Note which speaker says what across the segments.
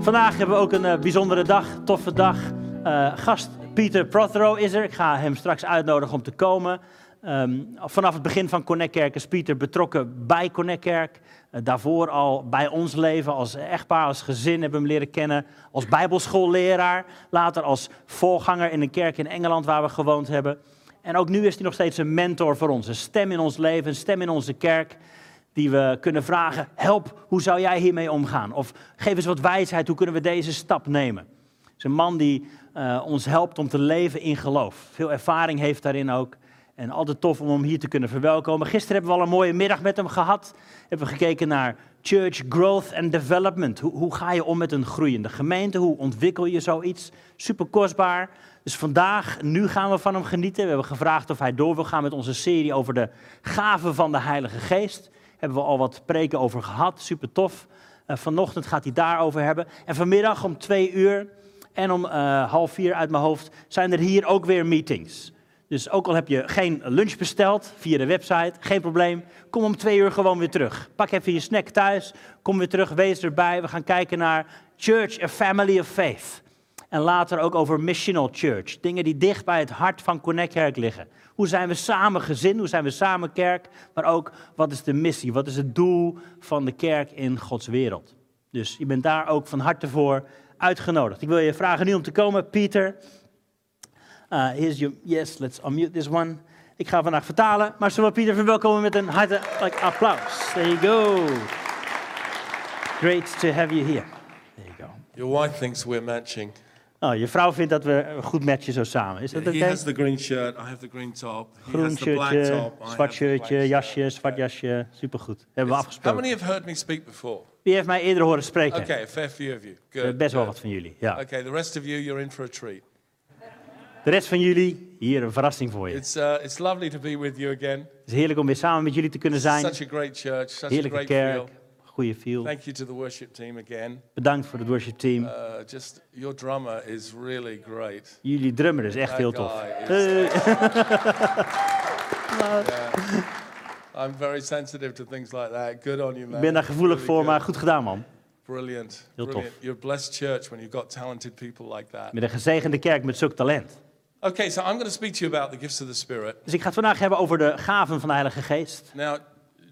Speaker 1: Vandaag hebben we ook een eh, bijzondere dag, toffe dag. Eh, gast Pieter Prothero is er. Ik ga hem straks uitnodigen om te komen. Ehm, vanaf het begin van Connect Kerk is Pieter betrokken bij Connect Kerk. Eh, daarvoor al bij ons leven als echtpaar, als gezin hebben we hem leren kennen. Als bijbelschoolleraar, later als voorganger in een kerk in Engeland waar we gewoond hebben. En ook nu is hij nog steeds een mentor voor ons. Een stem in ons leven, een stem in onze kerk die we kunnen vragen: help, hoe zou jij hiermee omgaan? Of geef eens wat wijsheid, hoe kunnen we deze stap nemen? Het is een man die eh, ons helpt om te leven in geloof. Veel ervaring heeft daarin ook. En altijd tof om hem hier te kunnen verwelkomen. Gisteren hebben we al een mooie middag met hem gehad. Hebben we gekeken naar church growth and development. Hoe, hoe ga je om met een groeiende gemeente? Hoe ontwikkel je zoiets? Super kostbaar. Dus vandaag, nu gaan we van hem genieten. We hebben gevraagd of hij door wil gaan met onze serie over de gaven van de Heilige Geest hebben we al wat preken over gehad. Super tof. Eh, vanochtend gaat hij daarover hebben. En vanmiddag om twee uur en om eh, half vier uit mijn hoofd zijn er hier ook weer meetings. Dus ook al heb je geen lunch besteld via de website, geen probleem. Kom om twee uur gewoon weer terug. Pak even je snack thuis. Kom weer terug, wees erbij. We gaan kijken naar Church, a Family of Faith. En later ook over missional church. Dingen die dicht bij het hart van Connect Kerk liggen. Hoe zijn we samen gezin? Hoe zijn we samen kerk? Maar ook wat is de missie? Wat is het doel van de kerk in Gods wereld? Dus je bent daar ook van harte voor uitgenodigd. Ik wil je vragen nu om te komen, Pieter. Uh, here's your, yes, let's unmute this one. Ik ga vandaag vertalen, maar zullen we Pieter verwelkomen met een hartelijk applaus. There you go. Great to have you here. There you go.
Speaker 2: Your wife thinks we're matching.
Speaker 1: Oh, je vrouw vindt dat we een goed matchen zo samen. Is dat oké?
Speaker 2: He has the green shirt, I have the green top. He
Speaker 1: Groen
Speaker 2: has the black
Speaker 1: shirtje,
Speaker 2: top, I have
Speaker 1: zwart
Speaker 2: the black
Speaker 1: shirtje,
Speaker 2: shirt.
Speaker 1: jasje, zwart jasje. Supergoed. Hebben we
Speaker 2: How
Speaker 1: afgesproken.
Speaker 2: many have heard me speak before?
Speaker 1: Wie heeft mij eerder horen spreken?
Speaker 2: Okay, a fair few of you.
Speaker 1: Eh,
Speaker 2: Good.
Speaker 1: Best wel
Speaker 2: good.
Speaker 1: wat van jullie. Ja.
Speaker 2: Okay, the rest of you, you're in for a treat.
Speaker 1: De rest van jullie, hier een verrassing voor je. Het
Speaker 2: It's, uh, it's lovely to be with you again.
Speaker 1: is heerlijk om weer samen met jullie te kunnen zijn.
Speaker 2: Such a great church, such a
Speaker 1: Heerlijke
Speaker 2: great
Speaker 1: kerk,
Speaker 2: feel.
Speaker 1: goede feel.
Speaker 2: Thank you to the worship team again.
Speaker 1: Bedankt voor het worship team.
Speaker 2: Uh, just your drummer is really great.
Speaker 1: Jullie drummer is echt
Speaker 2: that
Speaker 1: heel
Speaker 2: guy
Speaker 1: tof.
Speaker 2: is-
Speaker 1: Eh,
Speaker 2: I'm very sensitive to things like that. Good on you, man.
Speaker 1: Ik ben daar gevoelig
Speaker 2: Really
Speaker 1: voor,
Speaker 2: good.
Speaker 1: maar goed gedaan man.
Speaker 2: Brilliant.
Speaker 1: Heel tof.
Speaker 2: Brilliant. You're a blessed church when you've got talented people like that.
Speaker 1: Met een gezegende kerk met zulk talent.
Speaker 2: Okay, so I'm going to speak to you about the gifts of the Spirit.
Speaker 1: Dus ik ga het vandaag hebben over de gaven van de Heilige Geest.
Speaker 2: Now,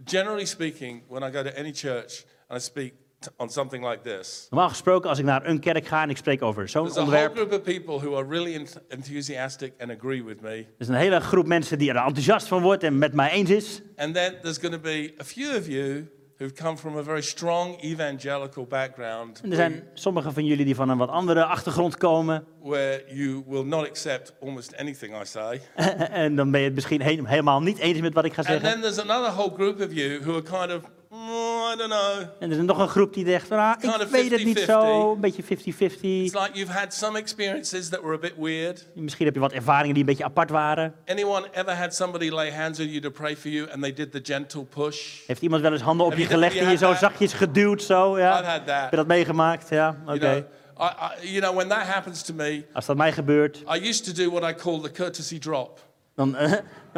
Speaker 2: generally speaking, when I go to any church and I speak t- on something like this,
Speaker 1: Normaal gesproken, als ik naar een kerk ga en ik spreek over zo'n
Speaker 2: there's a whole
Speaker 1: onderwerp,
Speaker 2: group of people who are really enth- enthusiastic and agree with me.
Speaker 1: Er is een hele groep mensen die er enthousiast van wordt en met mij eens is.
Speaker 2: And then there's going to be a few of you who've come from a very strong evangelical background
Speaker 1: En er zijn sommigen van jullie die van een wat andere achtergrond komen.
Speaker 2: where you will not accept almost anything I say.
Speaker 1: en dan ben je het misschien he- helemaal niet eens met wat ik ga
Speaker 2: And
Speaker 1: zeggen.
Speaker 2: then there's another whole group of you who are kind of, "Mm, I don't know.
Speaker 1: En er is nog een groep die zegt, ah,
Speaker 2: Kind
Speaker 1: ik
Speaker 2: of
Speaker 1: weet het niet
Speaker 2: 50-50.
Speaker 1: zo, een beetje
Speaker 2: It's
Speaker 1: 50-50.
Speaker 2: like you've had some experiences that were a bit weird.
Speaker 1: Misschien heb je wat ervaringen die een beetje apart waren.
Speaker 2: Anyone ever had somebody lay hands on you to pray for you and they did the gentle push?
Speaker 1: Heeft iemand wel eens handen op
Speaker 2: Heb
Speaker 1: je
Speaker 2: je dat-
Speaker 1: gelegd
Speaker 2: je
Speaker 1: en je
Speaker 2: had
Speaker 1: zo
Speaker 2: dat?
Speaker 1: zachtjes geduwd zo?
Speaker 2: I've
Speaker 1: Ja.
Speaker 2: had that.
Speaker 1: Heb je dat meegemaakt? Ja, oké.
Speaker 2: You, know, I, I, you know, when that happens to me,
Speaker 1: Als dat mij gebeurt,
Speaker 2: I used to do what I call the courtesy drop.
Speaker 1: dan... eh,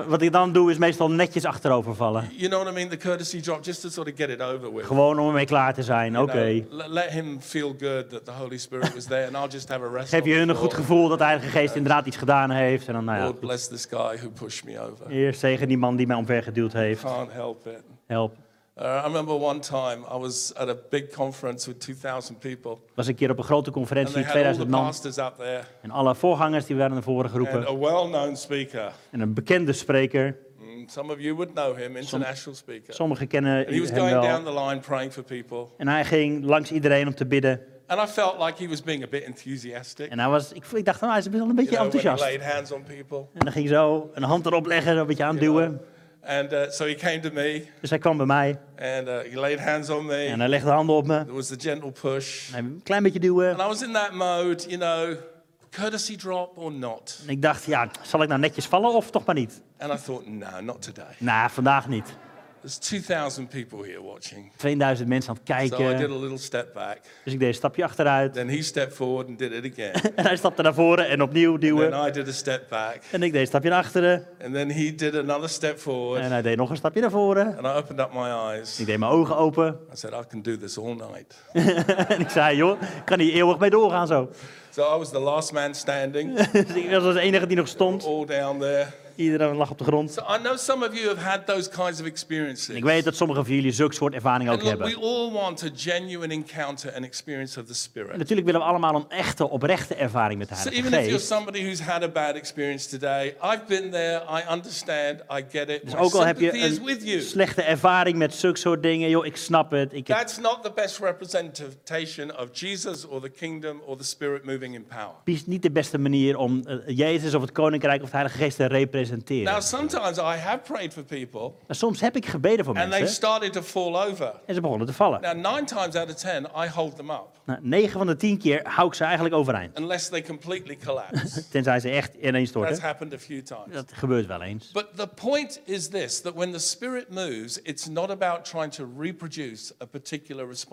Speaker 1: wat ik dan doe is meestal netjes achterovervallen.
Speaker 2: You know what I mean? The courtesy drop, just to sort of get it over with. you
Speaker 1: Gewoon om ermee klaar te zijn, oké.
Speaker 2: know. L- let him feel good that the Holy Spirit was there, and I'll just have a rest.
Speaker 1: Geef je
Speaker 2: on
Speaker 1: hun
Speaker 2: the
Speaker 1: een goed
Speaker 2: floor.
Speaker 1: gevoel dat de Heilige Geest inderdaad iets gedaan heeft. En dan, nou ja,
Speaker 2: Lord, bless this guy who pushed me over.
Speaker 1: Eerst tegen die man die mij omvergeduwd heeft.
Speaker 2: Can't help it.
Speaker 1: Help.
Speaker 2: Uh, I remember one time I was at a big conference with 2,000 people,
Speaker 1: Was een keer op een grote
Speaker 2: and they
Speaker 1: conferentie,
Speaker 2: had all the
Speaker 1: 2000 man.
Speaker 2: pastors up there
Speaker 1: En alle voorgangers die werden naar voren
Speaker 2: and
Speaker 1: geroepen.
Speaker 2: a well-known speaker.
Speaker 1: En een bekende spreker.
Speaker 2: Mm, Some of you would know him, international speaker.
Speaker 1: Sommigen kennen
Speaker 2: And he was
Speaker 1: hem
Speaker 2: going down
Speaker 1: wel.
Speaker 2: the line praying for people.
Speaker 1: En hij ging langs iedereen om te bidden.
Speaker 2: And I felt like he was being a bit enthusiastic.
Speaker 1: En hij was, ik, ik dacht, nou, hij is best wel een
Speaker 2: you know,
Speaker 1: beetje
Speaker 2: when he
Speaker 1: enthousiast. En
Speaker 2: laid hands on people.
Speaker 1: dan ging hij zo een hand erop leggen, een beetje aanduwen.
Speaker 2: And uh, so he came to me
Speaker 1: Dus hij kwam bij mij.
Speaker 2: and uh, he laid hands on me.
Speaker 1: En hij legde handen op me. En
Speaker 2: There was the gentle push.
Speaker 1: hij een klein beetje duwen.
Speaker 2: And I was in that mode, you know, courtesy drop or not.
Speaker 1: En ik dacht, ja, zal ik nou netjes vallen of toch maar niet?
Speaker 2: And I thought, no, not today.
Speaker 1: Nou, vandaag niet.
Speaker 2: There's 2,000 people here watching.
Speaker 1: 2000 mensen aan het
Speaker 2: So I did a
Speaker 1: kijken.
Speaker 2: little step back.
Speaker 1: Dus ik deed een stapje achteruit.
Speaker 2: Then he stepped forward and did it again.
Speaker 1: En hij stapte naar voren en opnieuw
Speaker 2: then
Speaker 1: duwen.
Speaker 2: I did a step back.
Speaker 1: En ik deed een stapje naar achteren.
Speaker 2: And then he did another step
Speaker 1: En
Speaker 2: forward.
Speaker 1: hij deed nog een stapje naar voren.
Speaker 2: And I opened up my eyes.
Speaker 1: Ik deed mijn ogen open.
Speaker 2: I said, I can do this all night.
Speaker 1: En ik zei, joh, ik kan hier eeuwig mee doorgaan zo.
Speaker 2: So I was the last man standing,
Speaker 1: Dus ik was de enige die nog stond.
Speaker 2: all down there.
Speaker 1: Iedereen lag op de grond.
Speaker 2: So I know some of you have had those kinds of experiences.
Speaker 1: Ik weet dat sommigen van jullie zulke soort ervaringen ook
Speaker 2: And look, we
Speaker 1: hebben.
Speaker 2: all want a genuine encounter and experience of the
Speaker 1: En
Speaker 2: Spirit.
Speaker 1: natuurlijk willen we allemaal een echte, oprechte ervaring met de
Speaker 2: So
Speaker 1: Heilige
Speaker 2: even if you're
Speaker 1: Geest.
Speaker 2: somebody who's had a bad experience today, I've been there, I understand, I get it.
Speaker 1: Dus
Speaker 2: My
Speaker 1: ook al heb
Speaker 2: sympathy
Speaker 1: je
Speaker 2: is with
Speaker 1: een
Speaker 2: you.
Speaker 1: slechte ervaring met zulke soort dingen, joh, ik snap het. Ik heb
Speaker 2: That's not the best representation of Jesus or the kingdom or the Spirit moving in power.
Speaker 1: is niet de beste manier om eh, Jezus of het Koninkrijk of de Heilige Geest te
Speaker 2: Now, Nou-
Speaker 1: representeren.
Speaker 2: sometimes I have prayed for people
Speaker 1: Maar soms heb ik gebeden voor
Speaker 2: and they've
Speaker 1: mensen
Speaker 2: started to fall over.
Speaker 1: en ze begonnen te vallen.
Speaker 2: Now, nine times out of ten, I hold them up
Speaker 1: Nou, 9 van de 10 keer hou ik ze eigenlijk overeind.
Speaker 2: unless they completely collapse.
Speaker 1: Tenzij ze echt ineens
Speaker 2: That's
Speaker 1: storten.
Speaker 2: happened a few times.
Speaker 1: Dat gebeurt wel eens.
Speaker 2: But the point is this that when the Spirit moves, it's not about trying to reproduce a particular response.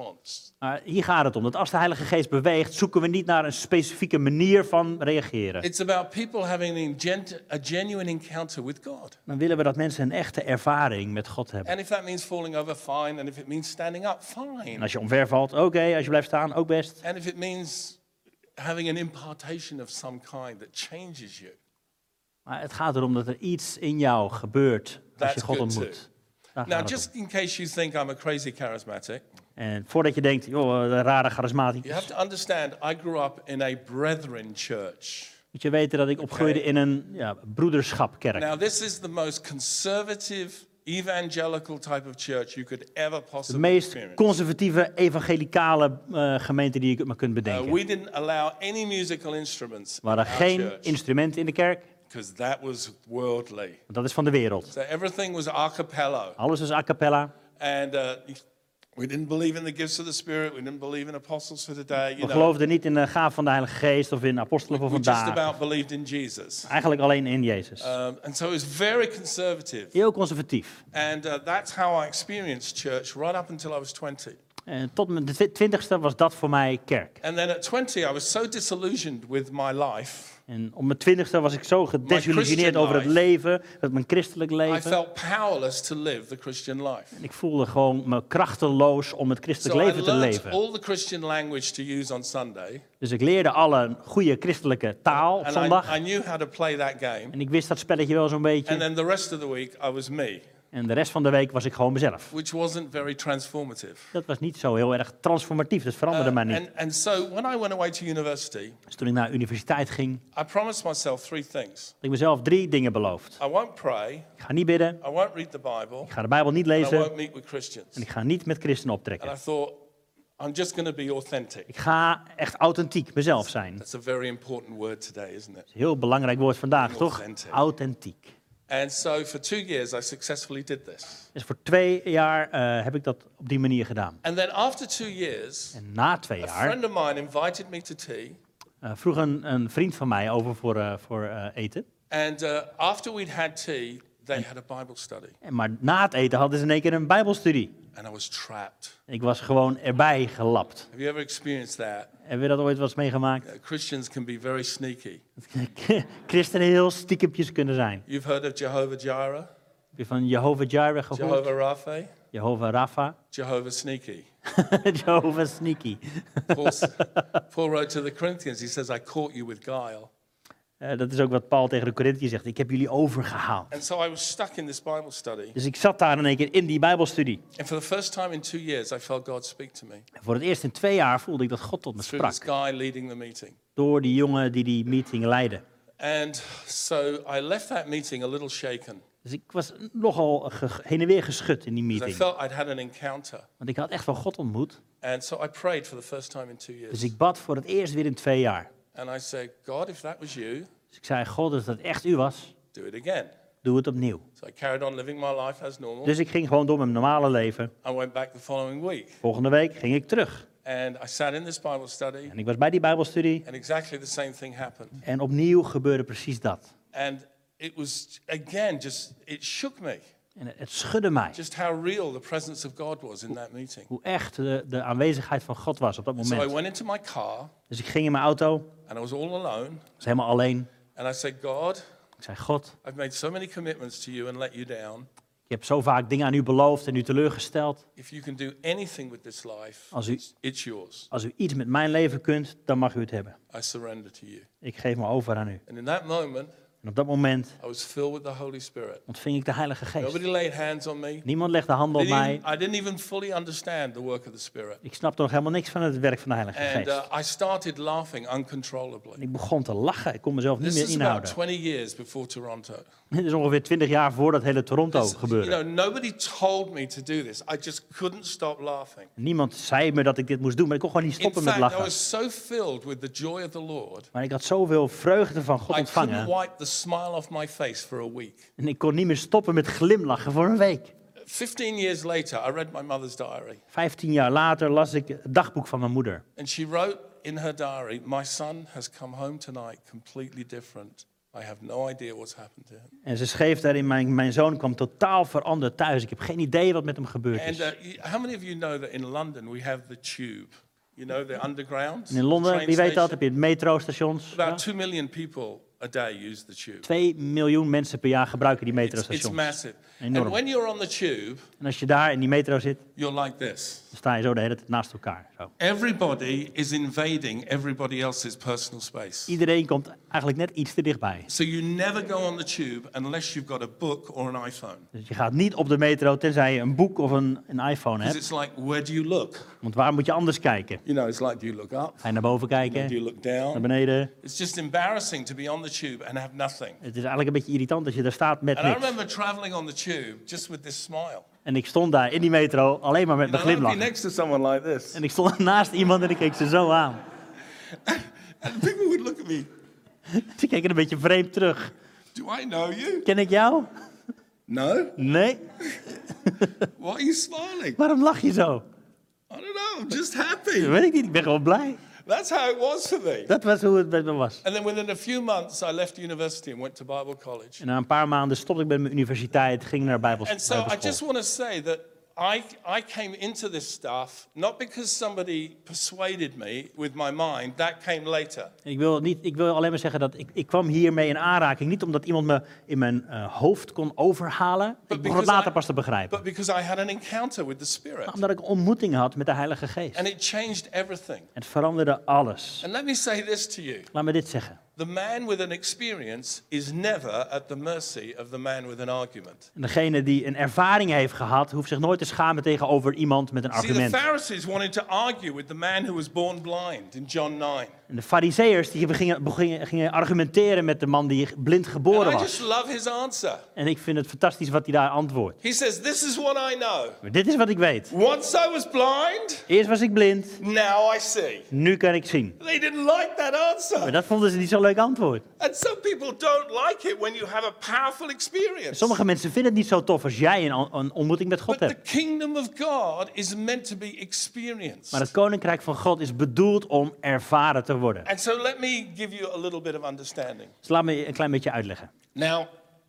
Speaker 1: Maar hier gaat het om. Dat als de Heilige Geest beweegt, zoeken we niet naar een specifieke manier van reageren.
Speaker 2: It's about people having an ingen- a genuine encounter with God.
Speaker 1: Dan willen we dat mensen een echte ervaring met God hebben.
Speaker 2: And if that means falling over, fine. And if it means standing up,
Speaker 1: En
Speaker 2: fine.
Speaker 1: als je omvervalt, oké. Als je blijft staan, ook best.
Speaker 2: And if it means having an impartation of some kind that changes you,
Speaker 1: Maar het gaat erom dat er iets in jou gebeurt als je
Speaker 2: That's
Speaker 1: God
Speaker 2: good Nou-
Speaker 1: ontmoet.
Speaker 2: too.
Speaker 1: Daar
Speaker 2: Now,
Speaker 1: gaat het om.
Speaker 2: just in case you think I'm a crazy charismatic,
Speaker 1: En voordat je denkt, joh, de rare
Speaker 2: you
Speaker 1: charismaticus.
Speaker 2: have to understand I grew up in a brethren church.
Speaker 1: Moet je weten dat ik opgroeide in een ja, broederschapkerk.
Speaker 2: Now, this is the most conservative evangelical type of church you could ever
Speaker 1: De
Speaker 2: possibly
Speaker 1: meest
Speaker 2: experience.
Speaker 1: conservatieve evangelicale eh, gemeente die je maar kunt
Speaker 2: Uh,
Speaker 1: bedenken.
Speaker 2: we didn't allow any musical instruments
Speaker 1: Er waren
Speaker 2: in our
Speaker 1: geen
Speaker 2: church
Speaker 1: instrumenten in de kerk,
Speaker 2: because that was worldly.
Speaker 1: want dat is van de wereld.
Speaker 2: So everything was a cappella.
Speaker 1: Alles is a cappella.
Speaker 2: And uh, we didn't believe in the gifts of the Spirit. We didn't believe in apostles for today. You
Speaker 1: We
Speaker 2: know,
Speaker 1: geloofden niet in de gaaf van de Heilige Geest of in apostelen voor
Speaker 2: we just
Speaker 1: vandaag.
Speaker 2: about believed in Jesus.
Speaker 1: Eigenlijk alleen in Jezus.
Speaker 2: Um, and so it was very conservative.
Speaker 1: Heel conservatief.
Speaker 2: And uh, that's how I experienced church right up until I was 20.
Speaker 1: En Eh, tot mijn twi- twintigste was dat voor mij kerk.
Speaker 2: And then at 20, I was so disillusioned with my life.
Speaker 1: En op mijn twintigste was ik zo gedesillusioneerd
Speaker 2: Christian
Speaker 1: over het
Speaker 2: life.
Speaker 1: leven, met mijn christelijk
Speaker 2: I
Speaker 1: leven.
Speaker 2: felt powerless to live the Christian life.
Speaker 1: En ik voelde gewoon me krachteloos om het
Speaker 2: So
Speaker 1: christelijk
Speaker 2: I
Speaker 1: leven te
Speaker 2: learned
Speaker 1: leven.
Speaker 2: all the Christian language to use on Sunday,
Speaker 1: Dus ik leerde alle goede christelijke taal op
Speaker 2: and I,
Speaker 1: zondag.
Speaker 2: I knew how to play that game.
Speaker 1: En ik wist dat spelletje wel zo'n beetje.
Speaker 2: And then the rest of the week, I was me,
Speaker 1: En de rest van de week was ik gewoon mezelf.
Speaker 2: which wasn't very transformative.
Speaker 1: Dat was niet zo heel erg transformatief. Dat
Speaker 2: Uh,
Speaker 1: veranderde mij niet.
Speaker 2: and, and so when I went away to university,
Speaker 1: Dus toen ik naar de universiteit ging, had
Speaker 2: I promised myself three things
Speaker 1: ik mezelf drie dingen beloofd.
Speaker 2: I won't pray,
Speaker 1: Ik ga niet bidden,
Speaker 2: I won't read the Bible,
Speaker 1: ik ga de Bijbel niet
Speaker 2: and I
Speaker 1: lezen
Speaker 2: won't meet with Christians.
Speaker 1: en ik ga niet met christenen
Speaker 2: And I
Speaker 1: optrekken.
Speaker 2: thought, I'm just going to be authentic.
Speaker 1: Ik ga echt authentiek mezelf zijn. Dat
Speaker 2: That's a very important word today, isn't it?
Speaker 1: is een heel belangrijk woord vandaag, toch?
Speaker 2: Authentic.
Speaker 1: Authentiek.
Speaker 2: And so for two years, I successfully did this.
Speaker 1: Dus voor twee jaar eh, heb ik dat op die manier gedaan.
Speaker 2: And then after two years,
Speaker 1: En na twee
Speaker 2: a
Speaker 1: jaar
Speaker 2: friend of mine invited me to tea.
Speaker 1: eh, vroeg een, een vriend van mij over voor, eh, voor eh, eten.
Speaker 2: And uh, after we'd had tea, they had a Bible study.
Speaker 1: En Maar na het eten hadden ze in één keer een bijbelstudie.
Speaker 2: And I was trapped.
Speaker 1: Ik was gewoon erbij gelapt.
Speaker 2: Have you ever experienced that?
Speaker 1: Hebben we dat ooit wel eens meegemaakt?
Speaker 2: Uh, Christians can be very sneaky.
Speaker 1: Christenen heel stiekempjes kunnen zijn.
Speaker 2: You've heard of Jehovah Jireh,
Speaker 1: Heb je van Jehovah Jireh gehoord?
Speaker 2: Jehovah Rapha,
Speaker 1: Jehovah Rafa.
Speaker 2: Jehovah Sneaky.
Speaker 1: Jehovah Sneaky.
Speaker 2: Paul, s- Paul wrote to the Corinthians, he says, I caught you with guile.
Speaker 1: Eh, dat is ook wat Paul tegen de Corinthië zegt. Ik heb jullie overgehaald.
Speaker 2: And so I was stuck in this Bible study.
Speaker 1: Dus ik zat daar in één keer in die Bijbelstudie.
Speaker 2: And for the first time in two years, I felt God speak to me
Speaker 1: En voor het eerst in twee jaar voelde ik dat God tot me
Speaker 2: through this
Speaker 1: sprak.
Speaker 2: guy leading the meeting.
Speaker 1: Door die jongen die die meeting leidde.
Speaker 2: And so I left that meeting a little shaken
Speaker 1: Dus ik was nogal ge- heen en weer geschud in die
Speaker 2: 'cause I
Speaker 1: meeting.
Speaker 2: felt I'd had an encounter.
Speaker 1: Want ik had echt wel God ontmoet.
Speaker 2: And so I prayed for the first time in two
Speaker 1: Dus
Speaker 2: years.
Speaker 1: ik bad voor het eerst weer in twee jaar.
Speaker 2: And I said, God, if that was you,
Speaker 1: Dus ik zei, God, als dat echt u was,
Speaker 2: do it again.
Speaker 1: doe het opnieuw.
Speaker 2: So I carried on living my life as normal.
Speaker 1: Dus ik ging gewoon door mijn normale leven.
Speaker 2: I went back the following week
Speaker 1: Volgende week ging ik terug.
Speaker 2: and I sat in this Bible study
Speaker 1: En ik was bij die Bijbelstudie.
Speaker 2: and exactly the same thing happened.
Speaker 1: En opnieuw gebeurde precies dat.
Speaker 2: And it was, again, just, it shook me.
Speaker 1: En het, het schudde mij
Speaker 2: just how real the presence of God was in that meeting.
Speaker 1: hoe echt de, de aanwezigheid van God was op dat
Speaker 2: So I
Speaker 1: moment.
Speaker 2: went into my car
Speaker 1: Dus ik ging in mijn auto,
Speaker 2: and I was all alone
Speaker 1: was helemaal alleen.
Speaker 2: and I said, God,
Speaker 1: Ik zei, God,
Speaker 2: I've made so many commitments to you and let you down.
Speaker 1: je hebt zo vaak dingen aan u beloofd en u teleurgesteld.
Speaker 2: If you can do anything with this life,
Speaker 1: Als u-
Speaker 2: it's- it's yours.
Speaker 1: Als u iets met mijn leven kunt, dan mag u het hebben.
Speaker 2: I surrender to you.
Speaker 1: Ik geef me over aan u.
Speaker 2: And in that moment,
Speaker 1: En op dat moment
Speaker 2: I was filled with the Holy Spirit.
Speaker 1: ontving ik de Heilige Geest.
Speaker 2: Nobody laid hands on me.
Speaker 1: Niemand legde handen op
Speaker 2: Didn't
Speaker 1: mij.
Speaker 2: even- I didn't even fully understand the work of the Spirit.
Speaker 1: Ik snapte nog helemaal niks van het werk van de Heilige
Speaker 2: And uh,
Speaker 1: Geest.
Speaker 2: I started laughing
Speaker 1: En
Speaker 2: uncontrollably.
Speaker 1: ik begon te lachen. Ik kon mezelf niet
Speaker 2: This
Speaker 1: meer
Speaker 2: Dus is about
Speaker 1: inhouden.
Speaker 2: 20 years before Toronto.
Speaker 1: Dit is ongeveer 20 jaar voordat hele Toronto
Speaker 2: This- you
Speaker 1: gebeurde.
Speaker 2: know, nobody told me to do this. I just couldn't stop laughing.
Speaker 1: Niemand zei me dat ik dit moest doen, maar ik kon gewoon niet
Speaker 2: In
Speaker 1: stoppen met
Speaker 2: fact, I
Speaker 1: lachen.
Speaker 2: was so filled with the joy of the Lord,
Speaker 1: Maar ik had zoveel vreugde van God
Speaker 2: I couldn't
Speaker 1: ontvangen.
Speaker 2: wipe the smile off my face for a week.
Speaker 1: En ik kon niet meer stoppen met glimlachen voor een week.
Speaker 2: 15 years later, I read my mother's diary,
Speaker 1: 15 jaar later las ik het dagboek van mijn moeder.
Speaker 2: and she wrote in her diary, My son has come home tonight completely different. I have no idea what's happened to him.
Speaker 1: En ze schreef daarin, mijn, mijn zoon kwam totaal veranderd thuis. Ik heb geen idee wat met hem gebeurd
Speaker 2: And
Speaker 1: is.
Speaker 2: uh, y- how many of you know that in London we have the tube? You know, the underground?
Speaker 1: En in Londen,
Speaker 2: train
Speaker 1: wie weet dat,
Speaker 2: station?
Speaker 1: heb je het metrostations.
Speaker 2: About
Speaker 1: ja.
Speaker 2: 2 million people a day use the tube.
Speaker 1: 2 miljoen mensen per jaar gebruiken die
Speaker 2: It's, it's
Speaker 1: metrostations.
Speaker 2: massive.
Speaker 1: Enorm.
Speaker 2: And when you're on the tube,
Speaker 1: En als je daar in die metro zit,
Speaker 2: you're like this.
Speaker 1: dan sta je zo de hele tijd naast elkaar. Zo.
Speaker 2: Everybody is invading everybody else's personal space.
Speaker 1: Iedereen komt eigenlijk net iets te dichtbij.
Speaker 2: So you never go on the tube unless you've got a book or an iPhone.
Speaker 1: Dus je gaat niet op de metro tenzij je een boek of een, een iPhone
Speaker 2: Because
Speaker 1: hebt.
Speaker 2: it's like, where do you look?
Speaker 1: Want waar moet je anders kijken?
Speaker 2: You know, it's like, do you look up?
Speaker 1: Ga je naar boven
Speaker 2: Do
Speaker 1: kijken,
Speaker 2: you look
Speaker 1: naar
Speaker 2: down?
Speaker 1: beneden?
Speaker 2: It's just embarrassing to be on the tube and have nothing.
Speaker 1: Het is eigenlijk een beetje irritant dat je daar staat met
Speaker 2: And I
Speaker 1: niks.
Speaker 2: remember traveling on the tube just with this smile.
Speaker 1: En ik stond daar in die metro alleen maar met
Speaker 2: And
Speaker 1: mijn
Speaker 2: I'd be
Speaker 1: glimlach.
Speaker 2: next to someone like this.
Speaker 1: En ik stond naast iemand en ik keek ze zo aan.
Speaker 2: And people would look at me,
Speaker 1: Ze keken een beetje vreemd terug.
Speaker 2: do I know you?
Speaker 1: Ken ik jou?
Speaker 2: No.
Speaker 1: Nee.
Speaker 2: Why are you smiling?
Speaker 1: Waarom lach je zo?
Speaker 2: I don't know, I'm just
Speaker 1: Dat
Speaker 2: happy.
Speaker 1: weet ik niet. Ik ben gewoon blij.
Speaker 2: That's how it was for me.
Speaker 1: Dat was hoe het met me was.
Speaker 2: And then within a few months, I left university and went to Bible college.
Speaker 1: En na een paar maanden stopte ik met mijn universiteit, ging naar Bijbels,
Speaker 2: And so I
Speaker 1: Bijbelschool.
Speaker 2: just want to say that I, I came into this stuff not because somebody persuaded me with my mind, that came later.
Speaker 1: Ik wil, niet, ik wil alleen maar zeggen dat ik, ik kwam hiermee in aanraking. Niet omdat iemand me in mijn eh, hoofd kon overhalen. Ik begon het
Speaker 2: because
Speaker 1: later
Speaker 2: I-
Speaker 1: pas te begrijpen.
Speaker 2: but because I had an encounter with the Spirit.
Speaker 1: Maar omdat ik een ontmoeting had met de Heilige Geest.
Speaker 2: And it changed everything.
Speaker 1: Het veranderde alles.
Speaker 2: And let me say this to you
Speaker 1: Laat me dit zeggen.
Speaker 2: the man with an experience is never at the mercy of the man with an argument.
Speaker 1: En degene die een ervaring heeft gehad, hoeft zich nooit te schamen tegenover iemand met een
Speaker 2: See, the
Speaker 1: argument.
Speaker 2: Pharisees wanted to argue with the man who was born blind in John 9.
Speaker 1: En de fariseërs die begingen, begingen- gingen argumenteren met de man die blind
Speaker 2: And
Speaker 1: geboren
Speaker 2: I
Speaker 1: was.
Speaker 2: just love his answer.
Speaker 1: En ik vind het fantastisch wat hij daar antwoordt.
Speaker 2: He says, This is what I know.
Speaker 1: Maar dit is wat ik weet.
Speaker 2: Once I was blind,
Speaker 1: Eerst was ik blind,
Speaker 2: now I see.
Speaker 1: nu kan ik zien.
Speaker 2: They didn't like that
Speaker 1: Maar
Speaker 2: answer.
Speaker 1: dat vonden ze niet zo'n leuk antwoord.
Speaker 2: And some people don't like it when you have a powerful experience.
Speaker 1: Sommige mensen vinden het niet zo tof als jij een, een ontmoeting met God
Speaker 2: But the
Speaker 1: hebt.
Speaker 2: kingdom of God is meant to be experienced.
Speaker 1: Maar het koninkrijk van God is bedoeld om ervaren te worden.
Speaker 2: And so let me give you a little bit of understanding.
Speaker 1: Dus laat me een klein beetje uitleggen.
Speaker 2: Now,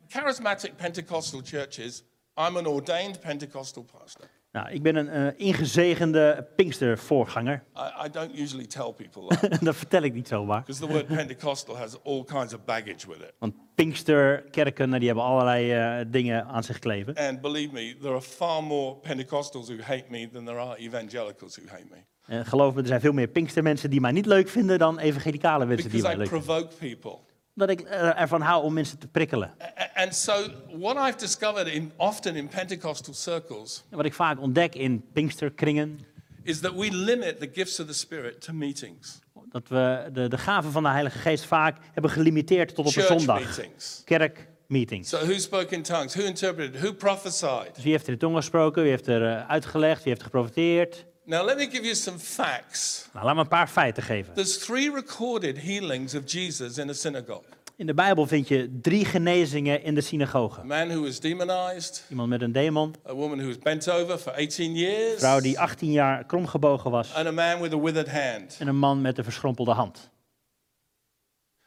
Speaker 2: charismatic Pentecostal churches, I'm an ordained Pentecostal pastor.
Speaker 1: Nou, ik ben een eh, ingezegende Pinkstervoorganger.
Speaker 2: I, I don't usually tell people that
Speaker 1: dat vertel ik niet zomaar.
Speaker 2: because the word Pentecostal has all kinds of baggage with it.
Speaker 1: Want Pinksterkerken nou, die hebben allerlei eh, dingen aan zich kleven.
Speaker 2: And believe me, there are far more Pentecostals who hate me than there are evangelicals who hate me.
Speaker 1: En Eh, geloof me, er zijn veel meer Pinkstermensen die mij niet leuk vinden dan evangelicale mensen die
Speaker 2: Because
Speaker 1: mij
Speaker 2: I
Speaker 1: leuk vinden.
Speaker 2: provoke people.
Speaker 1: Omdat ik eh, ervan hou om mensen te prikkelen.
Speaker 2: A- And so, what I've discovered in, often in Pentecostal circles
Speaker 1: En wat ik vaak ontdek in Pinksterkringen,
Speaker 2: is that we limit the gifts of the Spirit to meetings,
Speaker 1: dat we de, de gaven van de Heilige Geest vaak hebben gelimiteerd tot op een
Speaker 2: church
Speaker 1: zondag.
Speaker 2: meetings.
Speaker 1: Kerkmeetings.
Speaker 2: So, who spoke in tongues? Who interpreted? Who prophesied?
Speaker 1: Dus wie heeft er in tongen gesproken, wie heeft er eh, uitgelegd, wie heeft geprofiteerd.
Speaker 2: Now, let me give you some facts.
Speaker 1: Nou, laat me een paar feiten geven.
Speaker 2: There's three recorded healings of Jesus in a synagogue
Speaker 1: In de Bijbel vind je drie genezingen in de synagoge.
Speaker 2: a man who was demonized,
Speaker 1: Iemand met een demon,
Speaker 2: a woman who was bent over for 18 years,
Speaker 1: een vrouw die 18 jaar kromgebogen was
Speaker 2: and a man with a withered hand.
Speaker 1: en een man met een verschrompelde hand.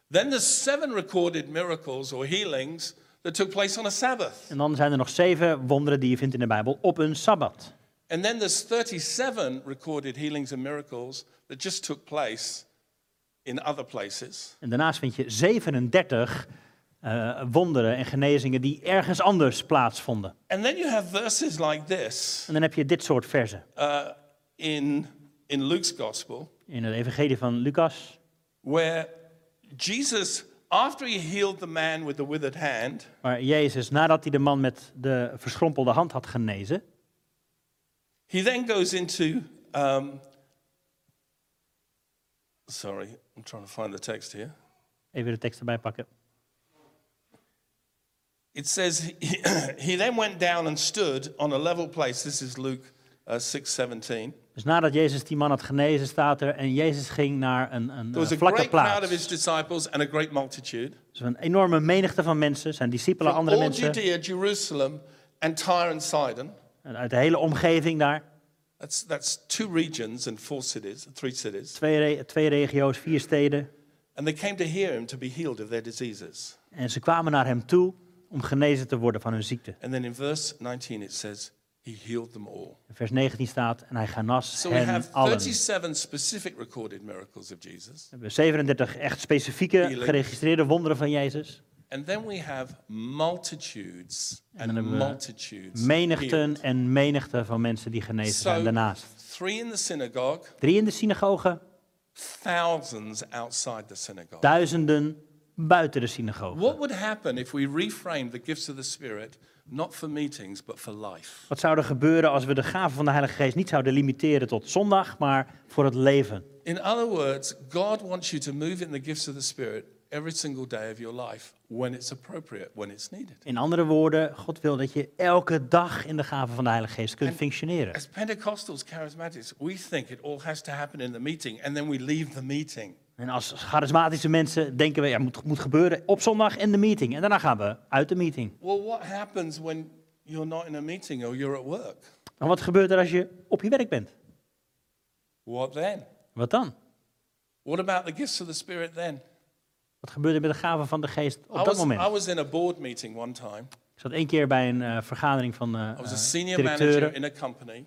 Speaker 2: Then there's seven recorded miracles or healings that took place on a Sabbath.
Speaker 1: En dan zijn er nog zeven wonderen die je vindt in de Bijbel op een sabbat.
Speaker 2: And then there's 37 recorded healings and miracles that just took place in other places.
Speaker 1: En daarnaast vind je 37 eh, wonderen en genezingen die ergens anders plaatsvonden.
Speaker 2: And then you have verses like this
Speaker 1: En dan heb je dit soort versen.
Speaker 2: uh, in, in Luke's gospel,
Speaker 1: In het evangelie van Lucas,
Speaker 2: where Jesus, after he healed the man with the withered hand,
Speaker 1: waar Jezus nadat hij de man met de verschrompelde hand had genezen,
Speaker 2: he then goes into. Um, sorry, I'm trying to find the text here.
Speaker 1: even de tekst erbij pakken.
Speaker 2: It says he, he then went down and stood on a level place. This is Luke uh, 6:17.
Speaker 1: Dus nadat Jezus die man had genezen, staat er, en Jezus ging naar een, een
Speaker 2: There
Speaker 1: eh,
Speaker 2: was a
Speaker 1: vlakke
Speaker 2: great crowd
Speaker 1: plaats.
Speaker 2: of his disciples and a great multitude
Speaker 1: Dus een enorme menigte van mensen, zijn discipelen,
Speaker 2: from
Speaker 1: andere
Speaker 2: all
Speaker 1: mensen,
Speaker 2: Judea, Jerusalem, and Tyre and Sidon.
Speaker 1: en uit de hele omgeving daar.
Speaker 2: That's, that's two regions and four cities, three cities.
Speaker 1: Twee, re- twee regio's, vier steden.
Speaker 2: And they came to hear him to be healed of their diseases.
Speaker 1: En ze kwamen naar hem toe om genezen te worden van hun ziekte.
Speaker 2: And then in verse 19 it says, he healed them all.
Speaker 1: In Vers 19 staat, en hij genas
Speaker 2: So we
Speaker 1: hen
Speaker 2: have
Speaker 1: allen.
Speaker 2: 37 specific recorded miracles of Jesus.
Speaker 1: We hebben 37 echt specifieke
Speaker 2: Healing.
Speaker 1: geregistreerde wonderen van Jezus.
Speaker 2: And then we have multitudes and,
Speaker 1: dan hebben we
Speaker 2: multitudes. healed.
Speaker 1: Menigten en menigten van mensen die genezen zijn
Speaker 2: So,
Speaker 1: daarnaast.
Speaker 2: three in the synagogue,
Speaker 1: Drie in de synagoge,
Speaker 2: thousands outside the synagogue.
Speaker 1: duizenden buiten de synagoge.
Speaker 2: What would happen if we reframed the gifts of the Spirit not for meetings but for life?
Speaker 1: Wat zou er gebeuren als we de gaven van de Heilige Geest niet zouden limiteren tot zondag, maar voor het leven?
Speaker 2: In other words, God wants you to move in the gifts of the Spirit every single day of your life when it's appropriate, when it's needed.
Speaker 1: In andere woorden, God wil dat je elke dag in de gaven van de Heilige Geest kunt functioneren.
Speaker 2: As Pentecostals, charismatics, we think it all has to happen in the meeting and then we leave the meeting.
Speaker 1: En als charismatische mensen denken we, ja, moet, moet gebeuren op zondag in de meeting. En daarna gaan we uit de meeting.
Speaker 2: Well, what happens when you're not in a meeting or you're at work?
Speaker 1: Maar wat gebeurt er als je op je werk bent?
Speaker 2: What then?
Speaker 1: Wat dan?
Speaker 2: What about the gifts of the Spirit then?
Speaker 1: Wat gebeurt er met de gaven van de geest
Speaker 2: I
Speaker 1: op dat
Speaker 2: was, I
Speaker 1: moment?
Speaker 2: was in a board meeting one time.
Speaker 1: Ik zat één keer bij een eh, vergadering van eh
Speaker 2: I was
Speaker 1: eh,
Speaker 2: a senior manager
Speaker 1: directeuren.
Speaker 2: in a company.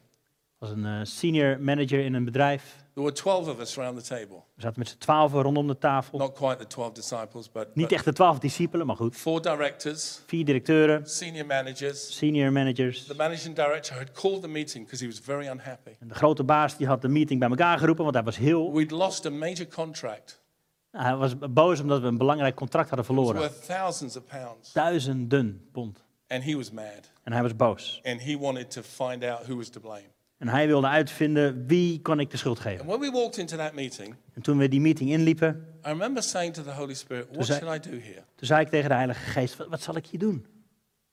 Speaker 1: Ik was een eh, senior manager in een bedrijf.
Speaker 2: There were 12 of us around the table.
Speaker 1: We zaten met z'n twaalfen rondom de tafel.
Speaker 2: Not quite the 12 disciples, but,
Speaker 1: Niet
Speaker 2: but
Speaker 1: echt de twaalf discipelen, maar goed.
Speaker 2: four directors,
Speaker 1: Vier directeuren,
Speaker 2: senior managers.
Speaker 1: senior managers.
Speaker 2: The managing director had called the meeting because he was very unhappy.
Speaker 1: En de grote baas die had de meeting bij elkaar geroepen, want hij was heel...
Speaker 2: We'd lost a major contract.
Speaker 1: Hij was boos omdat we een belangrijk contract hadden
Speaker 2: It was
Speaker 1: verloren.
Speaker 2: worth thousands of pounds.
Speaker 1: Duizenden pond.
Speaker 2: And he was mad.
Speaker 1: En hij was boos.
Speaker 2: And he wanted to find out who was to blame.
Speaker 1: En hij wilde uitvinden wie kon ik de schuld
Speaker 2: And
Speaker 1: geven.
Speaker 2: when we walked into that meeting,
Speaker 1: En toen we die meeting inliepen,
Speaker 2: I remember saying to the Holy Spirit, What
Speaker 1: Dus hij-
Speaker 2: should I do here?
Speaker 1: Toen zei ik tegen de Heilige Geest, wat, wat zal ik hier doen?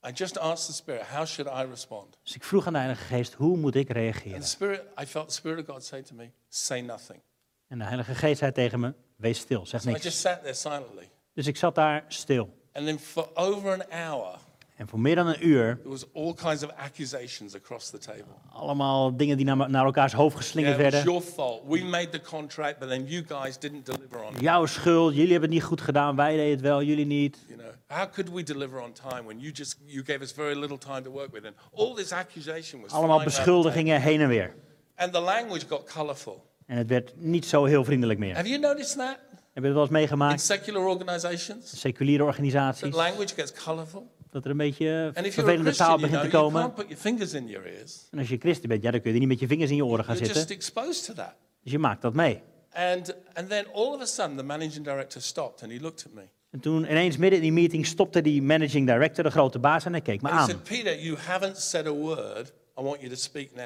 Speaker 2: I just asked the Spirit, How should I respond?
Speaker 1: Dus ik vroeg aan de Heilige Geest, hoe moet ik
Speaker 2: And the
Speaker 1: reageren?
Speaker 2: Spirit, I felt the Spirit of God say to me, Say nothing.
Speaker 1: En de Heilige Geest zei tegen me, wees stil, zeg
Speaker 2: So I
Speaker 1: niks.
Speaker 2: just sat there silently.
Speaker 1: Dus ik zat daar stil.
Speaker 2: And then for over an hour,
Speaker 1: En voor meer dan een uur,
Speaker 2: There was all kinds of accusations across the table.
Speaker 1: allemaal dingen die naar, naar elkaars hoofd
Speaker 2: Yeah,
Speaker 1: geslingerd
Speaker 2: it was
Speaker 1: werden.
Speaker 2: your fault. We made the contract, but then you guys didn't deliver on it.
Speaker 1: Jouw schuld, jullie hebben het niet goed gedaan, wij deden het wel, jullie niet.
Speaker 2: You know, how could we deliver on time when you just you gave us very little time to work with? And all this accusation
Speaker 1: Allemaal
Speaker 2: was flying around the table.
Speaker 1: beschuldigingen heen en weer.
Speaker 2: and the language got colourful.
Speaker 1: En het werd niet zo heel vriendelijk meer. Heb
Speaker 2: Have you noticed that
Speaker 1: je het wel eens
Speaker 2: in
Speaker 1: meegemaakt?
Speaker 2: secular organisations?
Speaker 1: Seculiere
Speaker 2: The
Speaker 1: organisaties,
Speaker 2: language gets colourful.
Speaker 1: dat er een beetje
Speaker 2: And if you're a
Speaker 1: vervelende taal
Speaker 2: Christian, you,
Speaker 1: begint
Speaker 2: know,
Speaker 1: te
Speaker 2: you
Speaker 1: komen.
Speaker 2: can't put your fingers in your ears.
Speaker 1: En als je christen bent, ja, dan kun je er niet met je vingers in je oren gaan
Speaker 2: You're
Speaker 1: zitten.
Speaker 2: just exposed to that.
Speaker 1: Dus je maakt dat mee.
Speaker 2: And and then all of a sudden, the managing director stopped and he looked at me.
Speaker 1: En toen ineens midden in die meeting stopte die managing director, de grote baas, en hij keek me
Speaker 2: And he
Speaker 1: aan.
Speaker 2: said, Peter, you haven't said a word. I want you to speak now.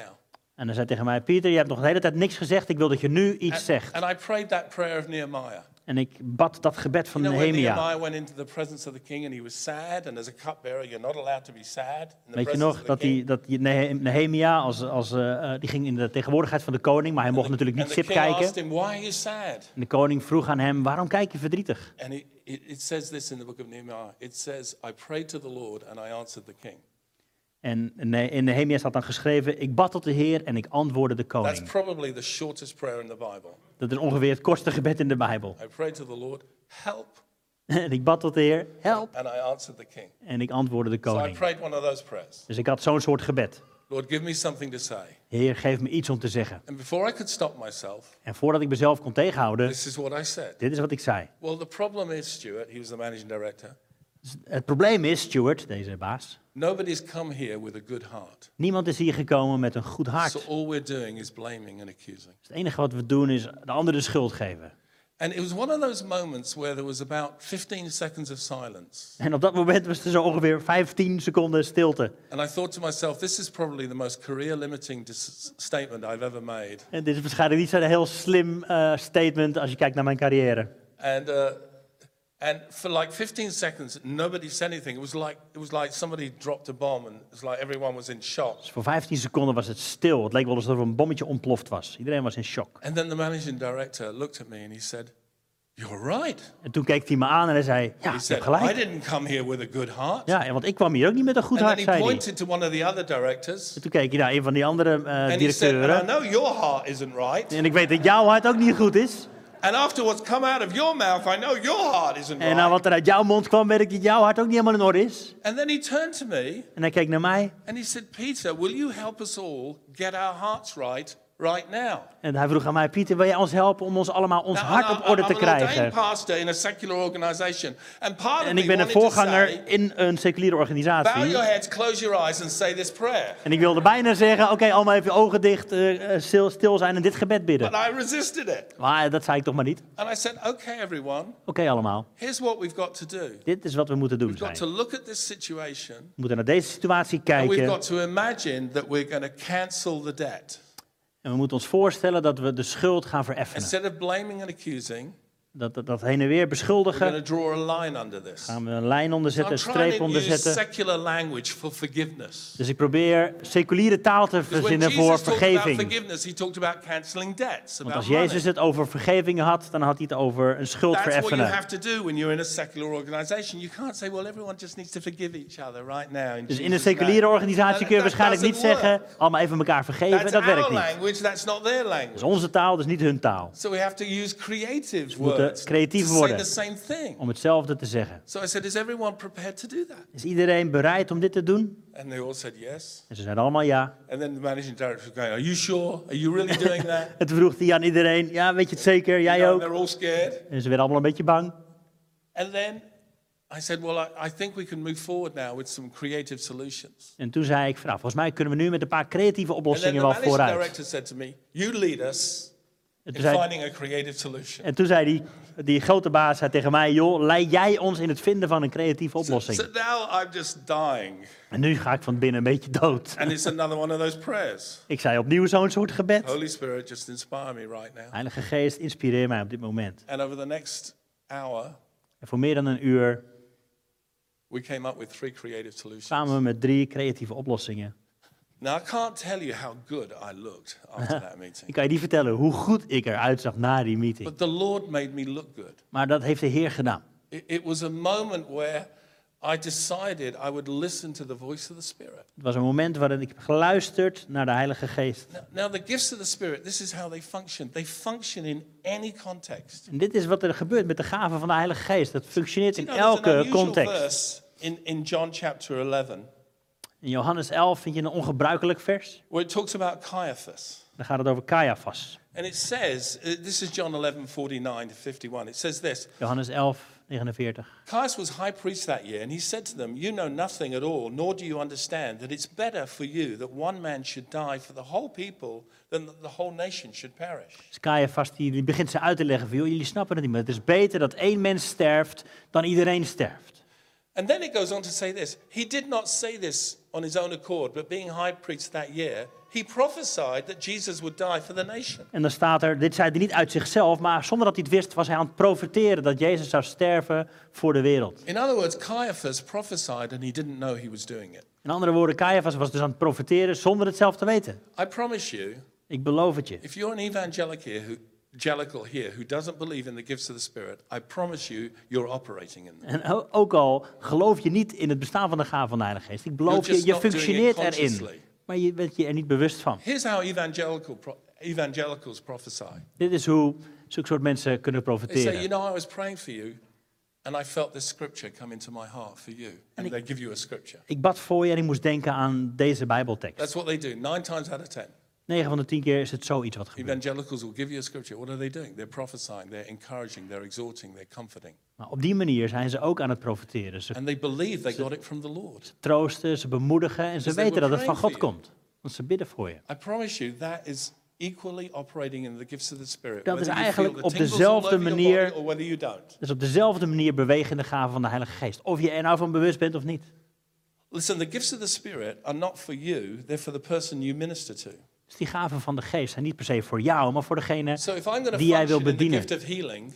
Speaker 1: En hij zei tegen mij, Pieter, je hebt nog de hele tijd niks gezegd, ik wil dat je nu iets zegt.
Speaker 2: And I prayed that prayer of Nehemiah.
Speaker 1: En ik bad dat gebed van
Speaker 2: You know, when
Speaker 1: Nehemia.
Speaker 2: Nehemiah went into the presence of the king and he was sad, and as a cupbearer, you're not allowed to be sad. In the
Speaker 1: Weet je
Speaker 2: presence
Speaker 1: nog,
Speaker 2: of
Speaker 1: dat,
Speaker 2: the king.
Speaker 1: die, dat die Nehe- Nehemia, als, als, eh, eh, die ging in de tegenwoordigheid van de koning, maar hij mocht natuurlijk
Speaker 2: And
Speaker 1: niet
Speaker 2: the
Speaker 1: sip
Speaker 2: king
Speaker 1: kijken.
Speaker 2: asked him, Why are you sad?
Speaker 1: En de koning vroeg aan hem, waarom kijk je verdrietig?
Speaker 2: And it, it, it says this in the book of Nehemiah it says, I prayed to the Lord and I answered the king.
Speaker 1: En Ne- in Nehemia staat dan geschreven, ik bad tot de Heer en ik antwoordde de
Speaker 2: That's
Speaker 1: koning.
Speaker 2: probably the shortest prayer in the Bible.
Speaker 1: Dat is ongeveer het kortste gebed in de Bijbel.
Speaker 2: I prayed to the Lord, help
Speaker 1: En ik bad tot de Heer, help.
Speaker 2: and I answered the king.
Speaker 1: En ik antwoordde de
Speaker 2: So I
Speaker 1: koning.
Speaker 2: prayed one of those prayers.
Speaker 1: Dus ik had zo'n soort gebed.
Speaker 2: Lord, give me something to say.
Speaker 1: Heer, geef me iets om te zeggen.
Speaker 2: And before I could stop myself,
Speaker 1: En voordat ik mezelf kon tegenhouden,
Speaker 2: this is what I said.
Speaker 1: dit is wat ik zei.
Speaker 2: Well, the problem is, Stuart, he was the managing director,
Speaker 1: Het probleem is, Stuart, deze baas,
Speaker 2: nobody's come here with a good heart.
Speaker 1: niemand is hier gekomen met een goed hart.
Speaker 2: So all we're doing is blaming and accusing.
Speaker 1: Dus het enige wat we doen is de ander de schuld geven.
Speaker 2: And it was one of those moments where there was about 15 seconds of silence.
Speaker 1: En op dat moment was er zo ongeveer 15 seconden stilte.
Speaker 2: And I thought to myself, this is probably the most career limiting dis- statement I've ever made.
Speaker 1: En dit is waarschijnlijk niet zo'n heel slim eh, statement als je kijkt naar mijn carrière.
Speaker 2: And, uh, and for like 15 seconds, nobody said anything. It was, like, it was like somebody dropped a bomb and it was like everyone was in shock.
Speaker 1: Dus voor 15 seconden was het stil. Het leek wel alsof er een bommetje ontploft was. Iedereen was in shock.
Speaker 2: And then the managing director looked at me and he said, You're right.
Speaker 1: En toen keek hij me aan en hij zei, ja,
Speaker 2: He
Speaker 1: je hebt
Speaker 2: said, I
Speaker 1: gelijk.
Speaker 2: didn't come here with a good heart.
Speaker 1: Ja, en want ik kwam hier ook niet met een goed
Speaker 2: And then
Speaker 1: hart,
Speaker 2: he
Speaker 1: zei hij.
Speaker 2: pointed to one of the other directors
Speaker 1: Toen keek hij naar een van die andere eh,
Speaker 2: and he said, And I
Speaker 1: directeuren.
Speaker 2: know your heart isn't right.
Speaker 1: En ik weet dat jouw hart ook niet goed is.
Speaker 2: And after what's come out of your mouth, I know your heart isn't
Speaker 1: En
Speaker 2: right.
Speaker 1: nou wat er uit jouw mond kwam, weet ik dat jouw hart ook niet helemaal in orde is.
Speaker 2: And then he turned to me
Speaker 1: En hij keek naar mij
Speaker 2: and he said, Peter, will you help us all get our hearts right right now?
Speaker 1: en hij vroeg aan mij, Pieter, wil jij ons helpen om ons allemaal ons
Speaker 2: Now,
Speaker 1: hart
Speaker 2: I'm-
Speaker 1: op orde
Speaker 2: I'm
Speaker 1: te
Speaker 2: an ordained
Speaker 1: krijgen?
Speaker 2: pastor in a secular organization. And part of
Speaker 1: En
Speaker 2: me
Speaker 1: ik ben een
Speaker 2: wanted to
Speaker 1: voorganger
Speaker 2: say,
Speaker 1: in een seculiere
Speaker 2: bow
Speaker 1: organisatie.
Speaker 2: your heads, close your eyes and say this prayer.
Speaker 1: En ik wilde bijna zeggen, oké, allemaal even je ogen dicht, eh, eh, stil, stil zijn en dit gebed bidden.
Speaker 2: But I resisted it.
Speaker 1: Maar dat zei ik toch maar niet. Oké
Speaker 2: And I said, okay, everyone,
Speaker 1: allemaal,
Speaker 2: here's what we've got to do.
Speaker 1: dit is wat we moeten doen.
Speaker 2: We've got
Speaker 1: Zijn.
Speaker 2: to
Speaker 1: We
Speaker 2: look at this situation
Speaker 1: moeten naar deze situatie
Speaker 2: and we've
Speaker 1: kijken.
Speaker 2: got to imagine that we're going to cancel the debt.
Speaker 1: En we moeten ons voorstellen dat we de schuld gaan vereffenen.
Speaker 2: Instead of blaming and accusing,
Speaker 1: Dat, dat, dat heen en weer
Speaker 2: We're going
Speaker 1: beschuldigen.
Speaker 2: to draw a line under this.
Speaker 1: Gaan we een lijn onderzetten,
Speaker 2: I'm
Speaker 1: een
Speaker 2: trying
Speaker 1: streep
Speaker 2: to use
Speaker 1: onderzetten.
Speaker 2: secular language for forgiveness.
Speaker 1: Dus ik probeer seculiere taal te
Speaker 2: Because Dus when
Speaker 1: verzinnen voor
Speaker 2: Jesus talked about
Speaker 1: vergeving.
Speaker 2: forgiveness, he talked about cancelling debts,
Speaker 1: Want
Speaker 2: about
Speaker 1: als
Speaker 2: money.
Speaker 1: Jezus het over vergeving had, dan had hij het over een schuld
Speaker 2: That's what you
Speaker 1: vereffenen.
Speaker 2: have to do when you're in a secular organization. You can't say, well, everyone just needs to forgive each other right now. in
Speaker 1: Dus in een
Speaker 2: Jesus'
Speaker 1: seculiere
Speaker 2: name."
Speaker 1: organisatie
Speaker 2: That-
Speaker 1: kun je
Speaker 2: that
Speaker 1: waarschijnlijk niet
Speaker 2: doesn't
Speaker 1: zeggen,
Speaker 2: work.
Speaker 1: allemaal even elkaar vergeven,
Speaker 2: That's
Speaker 1: dat werkt
Speaker 2: our
Speaker 1: niet.
Speaker 2: language, that's not their language.
Speaker 1: Dus onze taal, dus niet hun taal.
Speaker 2: So we have to use creative
Speaker 1: moeten
Speaker 2: words
Speaker 1: creatief
Speaker 2: to say
Speaker 1: worden.
Speaker 2: the same thing.
Speaker 1: Om hetzelfde te zeggen.
Speaker 2: So I said, is everyone prepared to do that?
Speaker 1: Is iedereen bereid om dit te doen?
Speaker 2: And they all said yes.
Speaker 1: En ze zeiden allemaal ja.
Speaker 2: And then the managing director was going, are you sure? Are you really doing that?
Speaker 1: En toen vroeg hij aan iedereen, ja weet je het zeker,
Speaker 2: You
Speaker 1: jij
Speaker 2: know,
Speaker 1: ook.
Speaker 2: They're all scared.
Speaker 1: En ze werden allemaal een beetje bang.
Speaker 2: And then I said, Well, I, I think we can move forward now with some creative solutions.
Speaker 1: En toen zei ik, van, nou, volgens mij kunnen we nu met een paar creatieve
Speaker 2: And then
Speaker 1: oplossingen
Speaker 2: the
Speaker 1: wel
Speaker 2: managing
Speaker 1: vooruit.
Speaker 2: director said to me, You lead us
Speaker 1: En
Speaker 2: in
Speaker 1: toen zei,
Speaker 2: finding a creative solution.
Speaker 1: en toen zei die, die grote baas zei tegen mij, joh, leid jij ons in het vinden van een creatieve
Speaker 2: So
Speaker 1: oplossing.
Speaker 2: now I'm just dying.
Speaker 1: En nu ga ik van binnen een beetje dood.
Speaker 2: And it's another one of those prayers.
Speaker 1: Ik zei opnieuw zo'n soort gebed.
Speaker 2: Holy Spirit, just inspire me right now.
Speaker 1: Heilige Geest, inspireer mij op dit moment.
Speaker 2: And over the next hour,
Speaker 1: En voor meer dan een uur
Speaker 2: we came up with three creative solutions.
Speaker 1: kwamen we met drie creatieve oplossingen.
Speaker 2: Now, I can't tell you how good I looked after that meeting,
Speaker 1: Ik kan je niet vertellen hoe goed ik eruit zag na die meeting.
Speaker 2: but the Lord made me look good.
Speaker 1: Maar dat heeft de Heer gedaan.
Speaker 2: It, it was a moment where I decided I would listen to the voice of the Spirit.
Speaker 1: Het was een moment waarin ik heb geluisterd naar de Heilige Geest.
Speaker 2: Now, now the gifts of the Spirit, this is how they function. They function in any context.
Speaker 1: En dit is wat er gebeurt met de gaven van de Heilige Geest. Dat functioneert
Speaker 2: You
Speaker 1: in
Speaker 2: know, there's an
Speaker 1: elke
Speaker 2: unusual
Speaker 1: context.
Speaker 2: verse in, in John chapter 11
Speaker 1: In Johannes 11 vind je een ongebruikelijk vers.
Speaker 2: where it talks about Caiaphas.
Speaker 1: Dan gaat het over Caiaphas.
Speaker 2: And it says, uh, this is John 11, 49 to 51. It says this
Speaker 1: Johannes 11, 49.
Speaker 2: Caiaphas was high priest that year, and he said to them, You know nothing at all, nor do you understand that it's better for you that one man should die for the whole people than that the whole nation should perish.
Speaker 1: Dus Caiaphas die, die begint ze uit te leggen van, joh, jullie snappen het niet meer. Het is beter dat één mens sterft dan iedereen sterft.
Speaker 2: And then it goes on to say this He did not say this on his own accord, but being high priest that year, he prophesied that Jesus would die for the nation.
Speaker 1: En dan staat er, dit zei hij niet uit zichzelf, maar zonder dat hij het wist was hij aan het profiteren dat Jezus zou sterven voor de wereld.
Speaker 2: In other words, Caiaphas prophesied and he didn't know he was doing it.
Speaker 1: In andere woorden, Caiaphas was dus aan het profiteren zonder het zelf te weten.
Speaker 2: I promise you,
Speaker 1: Ik beloof het je.
Speaker 2: if you're an evangelical here who, evangelical here who doesn't believe in the gifts of the Spirit, I promise you, you're operating in them.
Speaker 1: En o- ook al geloof je niet in het bestaan van de gave van de Heilige Geest, ik
Speaker 2: You're
Speaker 1: beloof je,
Speaker 2: just
Speaker 1: je
Speaker 2: not doing it
Speaker 1: functioneert erin.
Speaker 2: consciously.
Speaker 1: Maar je bent je er niet bewust van.
Speaker 2: Here's how evangelical pro- evangelicals prophesy
Speaker 1: Dit is hoe zulke soort mensen kunnen
Speaker 2: they say, You
Speaker 1: profiteren.
Speaker 2: know, I was praying for you, And I felt this scripture come into my heart for you. And, they give you a scripture.
Speaker 1: Ik bad voor je en ik moest denken aan deze Bijbeltekst.
Speaker 2: That's what they do. Nine times out of ten,
Speaker 1: 9 van de 10 keer is het zoiets wat gebeurt.
Speaker 2: evangelicals will give you a scripture. What are they doing? They're prophesying, they're encouraging, they're exhorting, they're comforting.
Speaker 1: Maar op die manier zijn ze ook aan het profiteren. Ze
Speaker 2: And they believe they got it from the Lord.
Speaker 1: troosten, ze bemoedigen en ze
Speaker 2: they
Speaker 1: weten
Speaker 2: were
Speaker 1: dat het van God
Speaker 2: praying for you.
Speaker 1: komt. Want ze bidden voor je.
Speaker 2: I promise you, that is equally operating in the gifts of the Spirit.
Speaker 1: Dat is
Speaker 2: whether you feel
Speaker 1: eigenlijk
Speaker 2: the
Speaker 1: op
Speaker 2: tingles all
Speaker 1: dezelfde
Speaker 2: over your
Speaker 1: manier-
Speaker 2: body or whether you don't.
Speaker 1: Dus op dezelfde manier bewegen de gaven van de Heilige Geest. Of je er nou van bewust bent of niet.
Speaker 2: Listen, the gifts of the Spirit are not for you, they're for the person you minister to.
Speaker 1: Dus die gaven van de Geest zijn niet per se voor jou, maar voor degene.
Speaker 2: So if I'm going to
Speaker 1: Die jij wil
Speaker 2: function in the
Speaker 1: bedienen.
Speaker 2: gift of healing,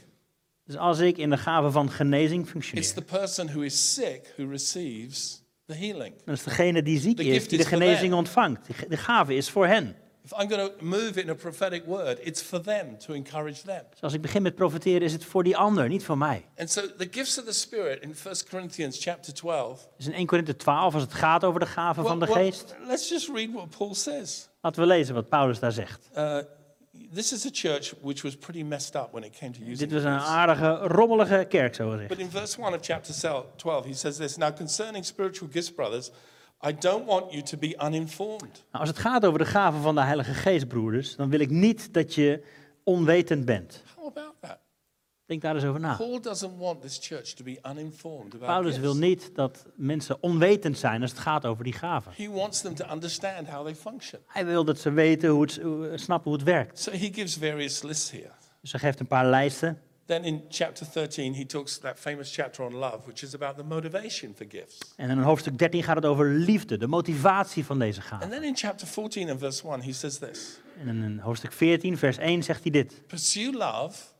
Speaker 1: Dus als ik in de gaven van genezing
Speaker 2: it's
Speaker 1: functioneer,
Speaker 2: the person who is sick who receives the healing.
Speaker 1: dan is degene die ziek
Speaker 2: The
Speaker 1: is,
Speaker 2: gift
Speaker 1: die de
Speaker 2: is for
Speaker 1: genezing
Speaker 2: them.
Speaker 1: ontvangt. Die ge- De gave is voor hen.
Speaker 2: If I'm going to move in a prophetic word, it's for them to encourage them.
Speaker 1: Dus als ik begin met profiteren, is het voor die ander, niet voor mij.
Speaker 2: And so the gifts of the Spirit in 1 Corinthians chapter 12.
Speaker 1: Dus in 1 Korinthe 12, als het gaat over de gaven van de
Speaker 2: Well, well,
Speaker 1: Geest,
Speaker 2: let's just read what Paul says.
Speaker 1: laten we lezen wat Paulus daar zegt.
Speaker 2: Uh, this is a church which was pretty messed up when it came to using
Speaker 1: Dit was een
Speaker 2: gifts.
Speaker 1: aardige, rommelige kerk, zo gezegd.
Speaker 2: But in verse 1 of chapter 12, he says this Now concerning spiritual gifts, brothers, I don't want you to be uninformed.
Speaker 1: Nou, als het gaat over de gaven van de Heilige Geest, broeders, dan wil ik niet dat je onwetend bent.
Speaker 2: How about that?
Speaker 1: Denk daar eens over na.
Speaker 2: Paul doesn't want this church to be uninformed about
Speaker 1: Paulus
Speaker 2: gifts.
Speaker 1: wil niet dat mensen onwetend zijn als het gaat over die gaven.
Speaker 2: He wants them to understand how they function.
Speaker 1: Hij wil dat ze weten hoe het, hoe- snappen hoe het werkt.
Speaker 2: So he gives various lists here.
Speaker 1: Dus hij geeft een paar lijsten.
Speaker 2: Then in chapter 13, he talks that famous chapter on love, which is about the motivation for gifts.
Speaker 1: En in hoofdstuk 13 gaat het over liefde, de motivatie van deze gaven.
Speaker 2: And then in chapter 14 and verse 1, he says this
Speaker 1: En in hoofdstuk 14, vers 1 zegt hij dit.
Speaker 2: Pursue love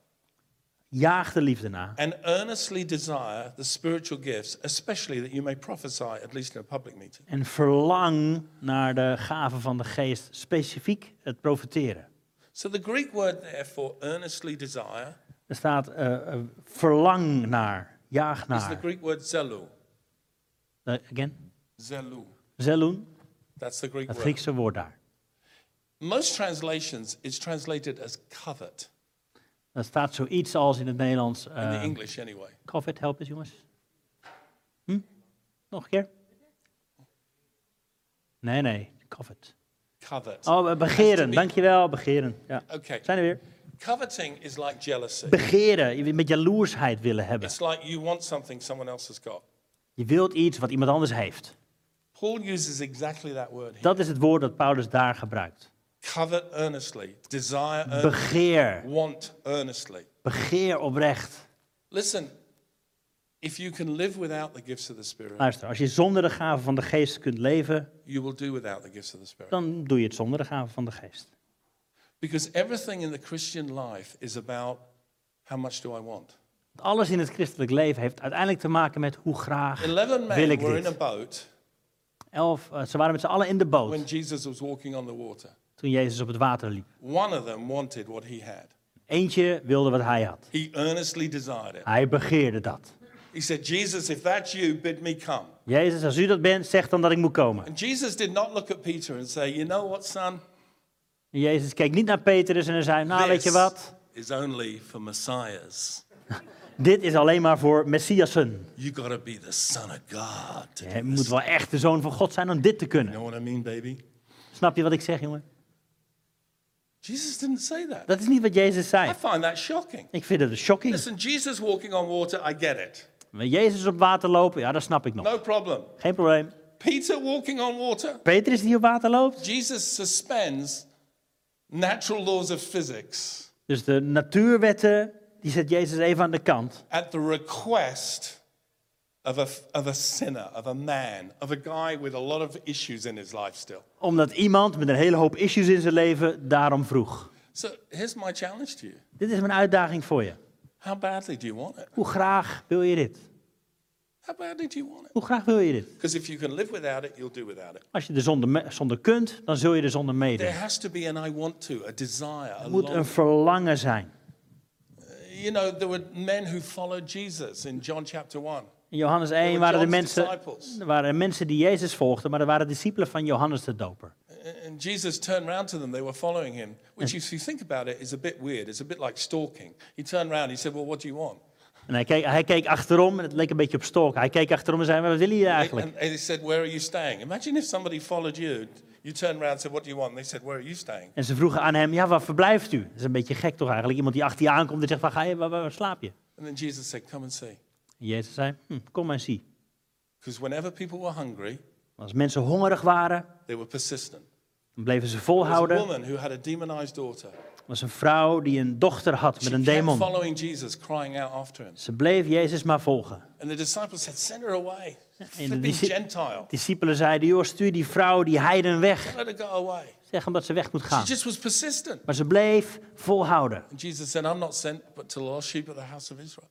Speaker 1: Jaag de liefde na
Speaker 2: and earnestly desire the spiritual gifts, especially that you may prophesy, at least in a public meeting.
Speaker 1: en verlang naar de gaven van de geest, specifiek het profiteren.
Speaker 2: So the Greek word there for earnestly desire
Speaker 1: Er staat eh, eh, verlang naar, jaag
Speaker 2: is the
Speaker 1: naar.
Speaker 2: Greek word zelou.
Speaker 1: Eh, again,
Speaker 2: Zelou.
Speaker 1: zeloen,
Speaker 2: That's the Greek
Speaker 1: het
Speaker 2: word.
Speaker 1: Griekse woord daar.
Speaker 2: Most translations is translated as covet
Speaker 1: Er staat zoiets als in het Nederlands.
Speaker 2: in the
Speaker 1: eh,
Speaker 2: English anyway.
Speaker 1: Covid, help eens jongens. Hm? Nog een keer? Nee, nee, Covid.
Speaker 2: Covet.
Speaker 1: Oh, eh, begeren, dankjewel, begeren. Ja.
Speaker 2: Okay.
Speaker 1: Zijn er weer?
Speaker 2: Coveting is like jealousy.
Speaker 1: Begeren, je wil met jaloersheid willen hebben.
Speaker 2: It's like you want something someone else has got.
Speaker 1: Je wilt iets wat iemand anders heeft.
Speaker 2: Paul uses exactly that word here.
Speaker 1: Dat is het woord dat Paulus daar gebruikt.
Speaker 2: Covet earnestly, desire earnestly,
Speaker 1: Begeer,
Speaker 2: want earnestly.
Speaker 1: begeer oprecht.
Speaker 2: Listen, if you can live without the gifts of the Spirit,
Speaker 1: Luister, als je zonder de gaven van de geest kunt leven,
Speaker 2: you will do without the gifts of the Spirit.
Speaker 1: dan doe je het zonder de gaven van de geest.
Speaker 2: Because everything in the Christian life is about how much do I want?
Speaker 1: Want Alles in het christelijk leven heeft uiteindelijk te maken met hoe graag
Speaker 2: 11
Speaker 1: Wil
Speaker 2: men
Speaker 1: ik
Speaker 2: were
Speaker 1: dit?
Speaker 2: in a boat
Speaker 1: elf, eh, ze waren met z'n allen in de boot.
Speaker 2: when Jesus was walking on the water.
Speaker 1: toen Jezus op het water liep.
Speaker 2: One of them wanted what he had.
Speaker 1: Eentje wilde wat hij had.
Speaker 2: He earnestly desired it.
Speaker 1: Hij begeerde dat.
Speaker 2: He said, Jesus, if that's you, bid me come.
Speaker 1: Jezus, als u dat bent, zeg dan dat ik moet komen.
Speaker 2: And Jesus did not look at Peter and say, You know what, son?
Speaker 1: En Jezus keek niet naar Petrus en hij zei, nou weet je
Speaker 2: This
Speaker 1: wat,
Speaker 2: is only for messiahs.
Speaker 1: dit is alleen maar voor Messiasen.
Speaker 2: You got to be the son of God. To
Speaker 1: Je
Speaker 2: do
Speaker 1: moet
Speaker 2: this.
Speaker 1: wel echt de zoon van God zijn om dit te
Speaker 2: You
Speaker 1: kunnen.
Speaker 2: know what I mean, baby?
Speaker 1: Snap je wat ik zeg, jongen?
Speaker 2: Jesus didn't say that.
Speaker 1: Dat is niet wat Jezus
Speaker 2: I
Speaker 1: zei.
Speaker 2: find that shocking.
Speaker 1: Ik vind het shocking.
Speaker 2: Listen, Jesus walking on water, I get it.
Speaker 1: Met Jezus op water lopen, ja, dat snap ik nog.
Speaker 2: No problem.
Speaker 1: Geen probleem.
Speaker 2: Peter walking on water,
Speaker 1: Petrus die op water loopt.
Speaker 2: Jesus suspends natural laws of physics
Speaker 1: Dus de natuurwetten, die zet Jezus even aan de kant.
Speaker 2: at the request of a, of a sinner, of a man, of a guy with a lot of issues in his life still.
Speaker 1: Omdat iemand met een hele hoop issues in zijn leven daarom vroeg.
Speaker 2: So here's my challenge to you
Speaker 1: Dit is mijn uitdaging voor je.
Speaker 2: How badly do you want it?
Speaker 1: Hoe graag wil je dit?
Speaker 2: How badly do you want it?
Speaker 1: Hoe graag wil je dit?
Speaker 2: Because if you can live without it, you'll do without it.
Speaker 1: Als je er zonder, me- zonder kunt, dan zul je er zonder
Speaker 2: There
Speaker 1: meedoen.
Speaker 2: has to be an I want to, a desire, a
Speaker 1: Er moet
Speaker 2: long.
Speaker 1: een verlangen zijn.
Speaker 2: You know, there were men who followed Jesus in John chapter 1.
Speaker 1: In Johannes
Speaker 2: There
Speaker 1: 1
Speaker 2: were
Speaker 1: waren er,
Speaker 2: John's
Speaker 1: mensen,
Speaker 2: disciples.
Speaker 1: er waren mensen die Jezus volgden, maar er waren discipelen van Johannes de Doper.
Speaker 2: And Jesus turned round to them, they were following him, which, if you think about it, is a bit weird. It's a bit like stalking. He turned round, he said, Well, what do you want?
Speaker 1: En hij keek, hij keek achterom, en het leek een beetje op stalk. Hij keek achterom en zei, "Maar wat willen jullie eigenlijk?
Speaker 2: And, and they said, Where are you staying? Imagine if somebody followed you. You turned around and said, What do you want? And they said, Where are you staying?
Speaker 1: En ze vroegen aan hem, ja, waar verblijft u? Dat is een beetje gek toch eigenlijk? Iemand die achter je aankomt en zegt, waar, ga je, waar, waar- waar slaap je?
Speaker 2: And then Jesus said, Come and see.
Speaker 1: En Jezus zei, hm, kom maar zie.
Speaker 2: Because whenever people were hungry,
Speaker 1: Als mensen hongerig waren,
Speaker 2: they were persistent.
Speaker 1: dan bleven ze
Speaker 2: There was a
Speaker 1: volhouden.
Speaker 2: woman who had a demonized daughter.
Speaker 1: Er was een vrouw die een dochter had
Speaker 2: She
Speaker 1: met een
Speaker 2: kept
Speaker 1: demon.
Speaker 2: following Jesus, crying out after him.
Speaker 1: Ze bleef Jezus maar volgen.
Speaker 2: And the disciples said, Send her away.
Speaker 1: in
Speaker 2: Flipping
Speaker 1: die zin-
Speaker 2: Gentile.
Speaker 1: De discipelen zeiden, joh, stuur die vrouw, die heiden weg.
Speaker 2: Let her go away.
Speaker 1: Zeg hem dat ze weg moet
Speaker 2: She
Speaker 1: gaan.
Speaker 2: just was persistent.
Speaker 1: Maar ze bleef volhouden.
Speaker 2: And Jesus said, I'm not sent but to the lost sheep of the house of Israel.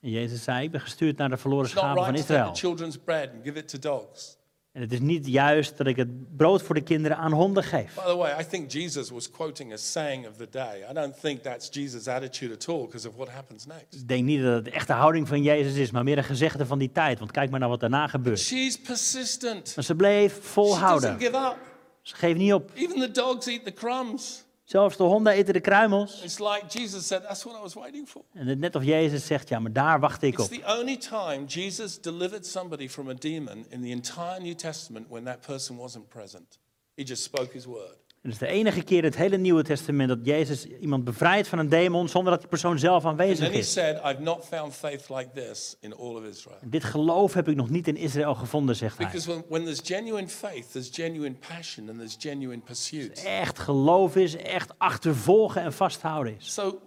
Speaker 1: En Jezus zei, ik ben gestuurd naar de verloren
Speaker 2: It's not
Speaker 1: schapen van
Speaker 2: right to take the
Speaker 1: Israël.
Speaker 2: children's bread and give it to dogs.
Speaker 1: En het is niet juist dat ik het brood voor de kinderen aan honden geef.
Speaker 2: By the way, I think Jesus was quoting a saying of the day. I don't think that's Jesus' attitude at all because of what happens next.
Speaker 1: Ik denk niet dat het de echte houding van Jezus is, maar meer een gezegde van die tijd. Want kijk maar naar wat daarna gebeurt.
Speaker 2: She's persistent.
Speaker 1: Maar ze bleef
Speaker 2: She doesn't
Speaker 1: volhouden.
Speaker 2: give up.
Speaker 1: Ze geeft niet op.
Speaker 2: Even the dogs eat the crumbs.
Speaker 1: Zelfs de honden eten de kruimels.
Speaker 2: It's like Jesus said, that's what I was waiting for.
Speaker 1: En het net of Jezus zegt, ja, maar daar wacht ik
Speaker 2: It's
Speaker 1: op.
Speaker 2: the only time Jesus delivered somebody from a demon in the entire New Testament when that person wasn't present. He just spoke his word.
Speaker 1: Het is de enige keer in het hele Nieuwe Testament dat Jezus iemand bevrijdt van een demon zonder dat die persoon zelf
Speaker 2: And
Speaker 1: aanwezig
Speaker 2: then he
Speaker 1: is.
Speaker 2: said, I've not found faith like this in all of Israel.
Speaker 1: Dit geloof heb ik nog niet in Israël gevonden, zegt hij.
Speaker 2: Because when, when there's genuine faith, there's genuine passion and there's genuine pursuit.
Speaker 1: Echt geloof is, echt achtervolgen en vasthouden is.
Speaker 2: So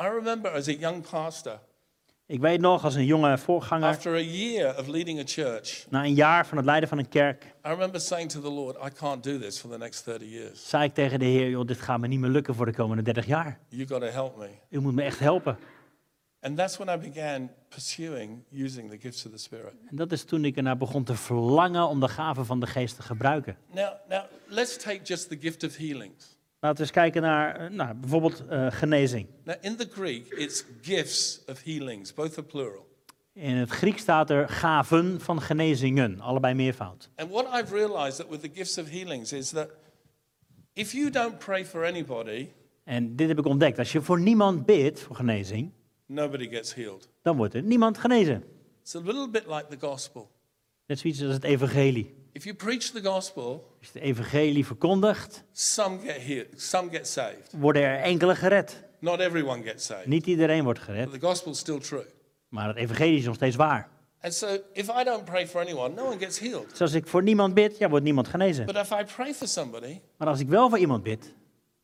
Speaker 2: I remember as a young pastor,
Speaker 1: Ik weet nog, als een jonge voorganger,
Speaker 2: after a year of leading a church,
Speaker 1: na een jaar van het leiden van een kerk,
Speaker 2: I remember saying to the Lord, I can't do this for the next 30 years.
Speaker 1: zei ik tegen de Heer, joh, dit gaat me niet meer lukken voor de komende 30 jaar.
Speaker 2: You got to help me.
Speaker 1: U moet me echt helpen.
Speaker 2: And that's when I began pursuing using the gifts of the Spirit.
Speaker 1: En dat is toen ik ernaar begon te verlangen om de gaven van de geest te gebruiken.
Speaker 2: Now, now let's take just the gift of healings.
Speaker 1: Laten we eens kijken naar eh, nou, bijvoorbeeld eh, genezing.
Speaker 2: Now, in the Greek, it's gifts of healings, both are plural.
Speaker 1: In het Griek staat er gaven van genezingen, allebei meervoud.
Speaker 2: And what I've realized that with the gifts of healings is that if you don't pray for anybody,
Speaker 1: En dit heb ik ontdekt. Als je voor niemand bidt voor genezing,
Speaker 2: nobody gets healed.
Speaker 1: dan wordt er niemand genezen.
Speaker 2: It's a little bit like the gospel.
Speaker 1: Net zoiets als het evangelie.
Speaker 2: If you preach the gospel,
Speaker 1: Als je het evangelie verkondigt,
Speaker 2: some get healed, some get saved.
Speaker 1: worden er enkele gered.
Speaker 2: Not everyone gets saved.
Speaker 1: Niet iedereen wordt
Speaker 2: But
Speaker 1: gered,
Speaker 2: the gospel's still true.
Speaker 1: maar het evangelie is nog steeds waar.
Speaker 2: And so if I don't pray for anyone, no one gets healed.
Speaker 1: Dus als ik voor niemand bid, ja, wordt niemand genezen.
Speaker 2: But if I pray for somebody,
Speaker 1: Maar als ik wel voor iemand bid,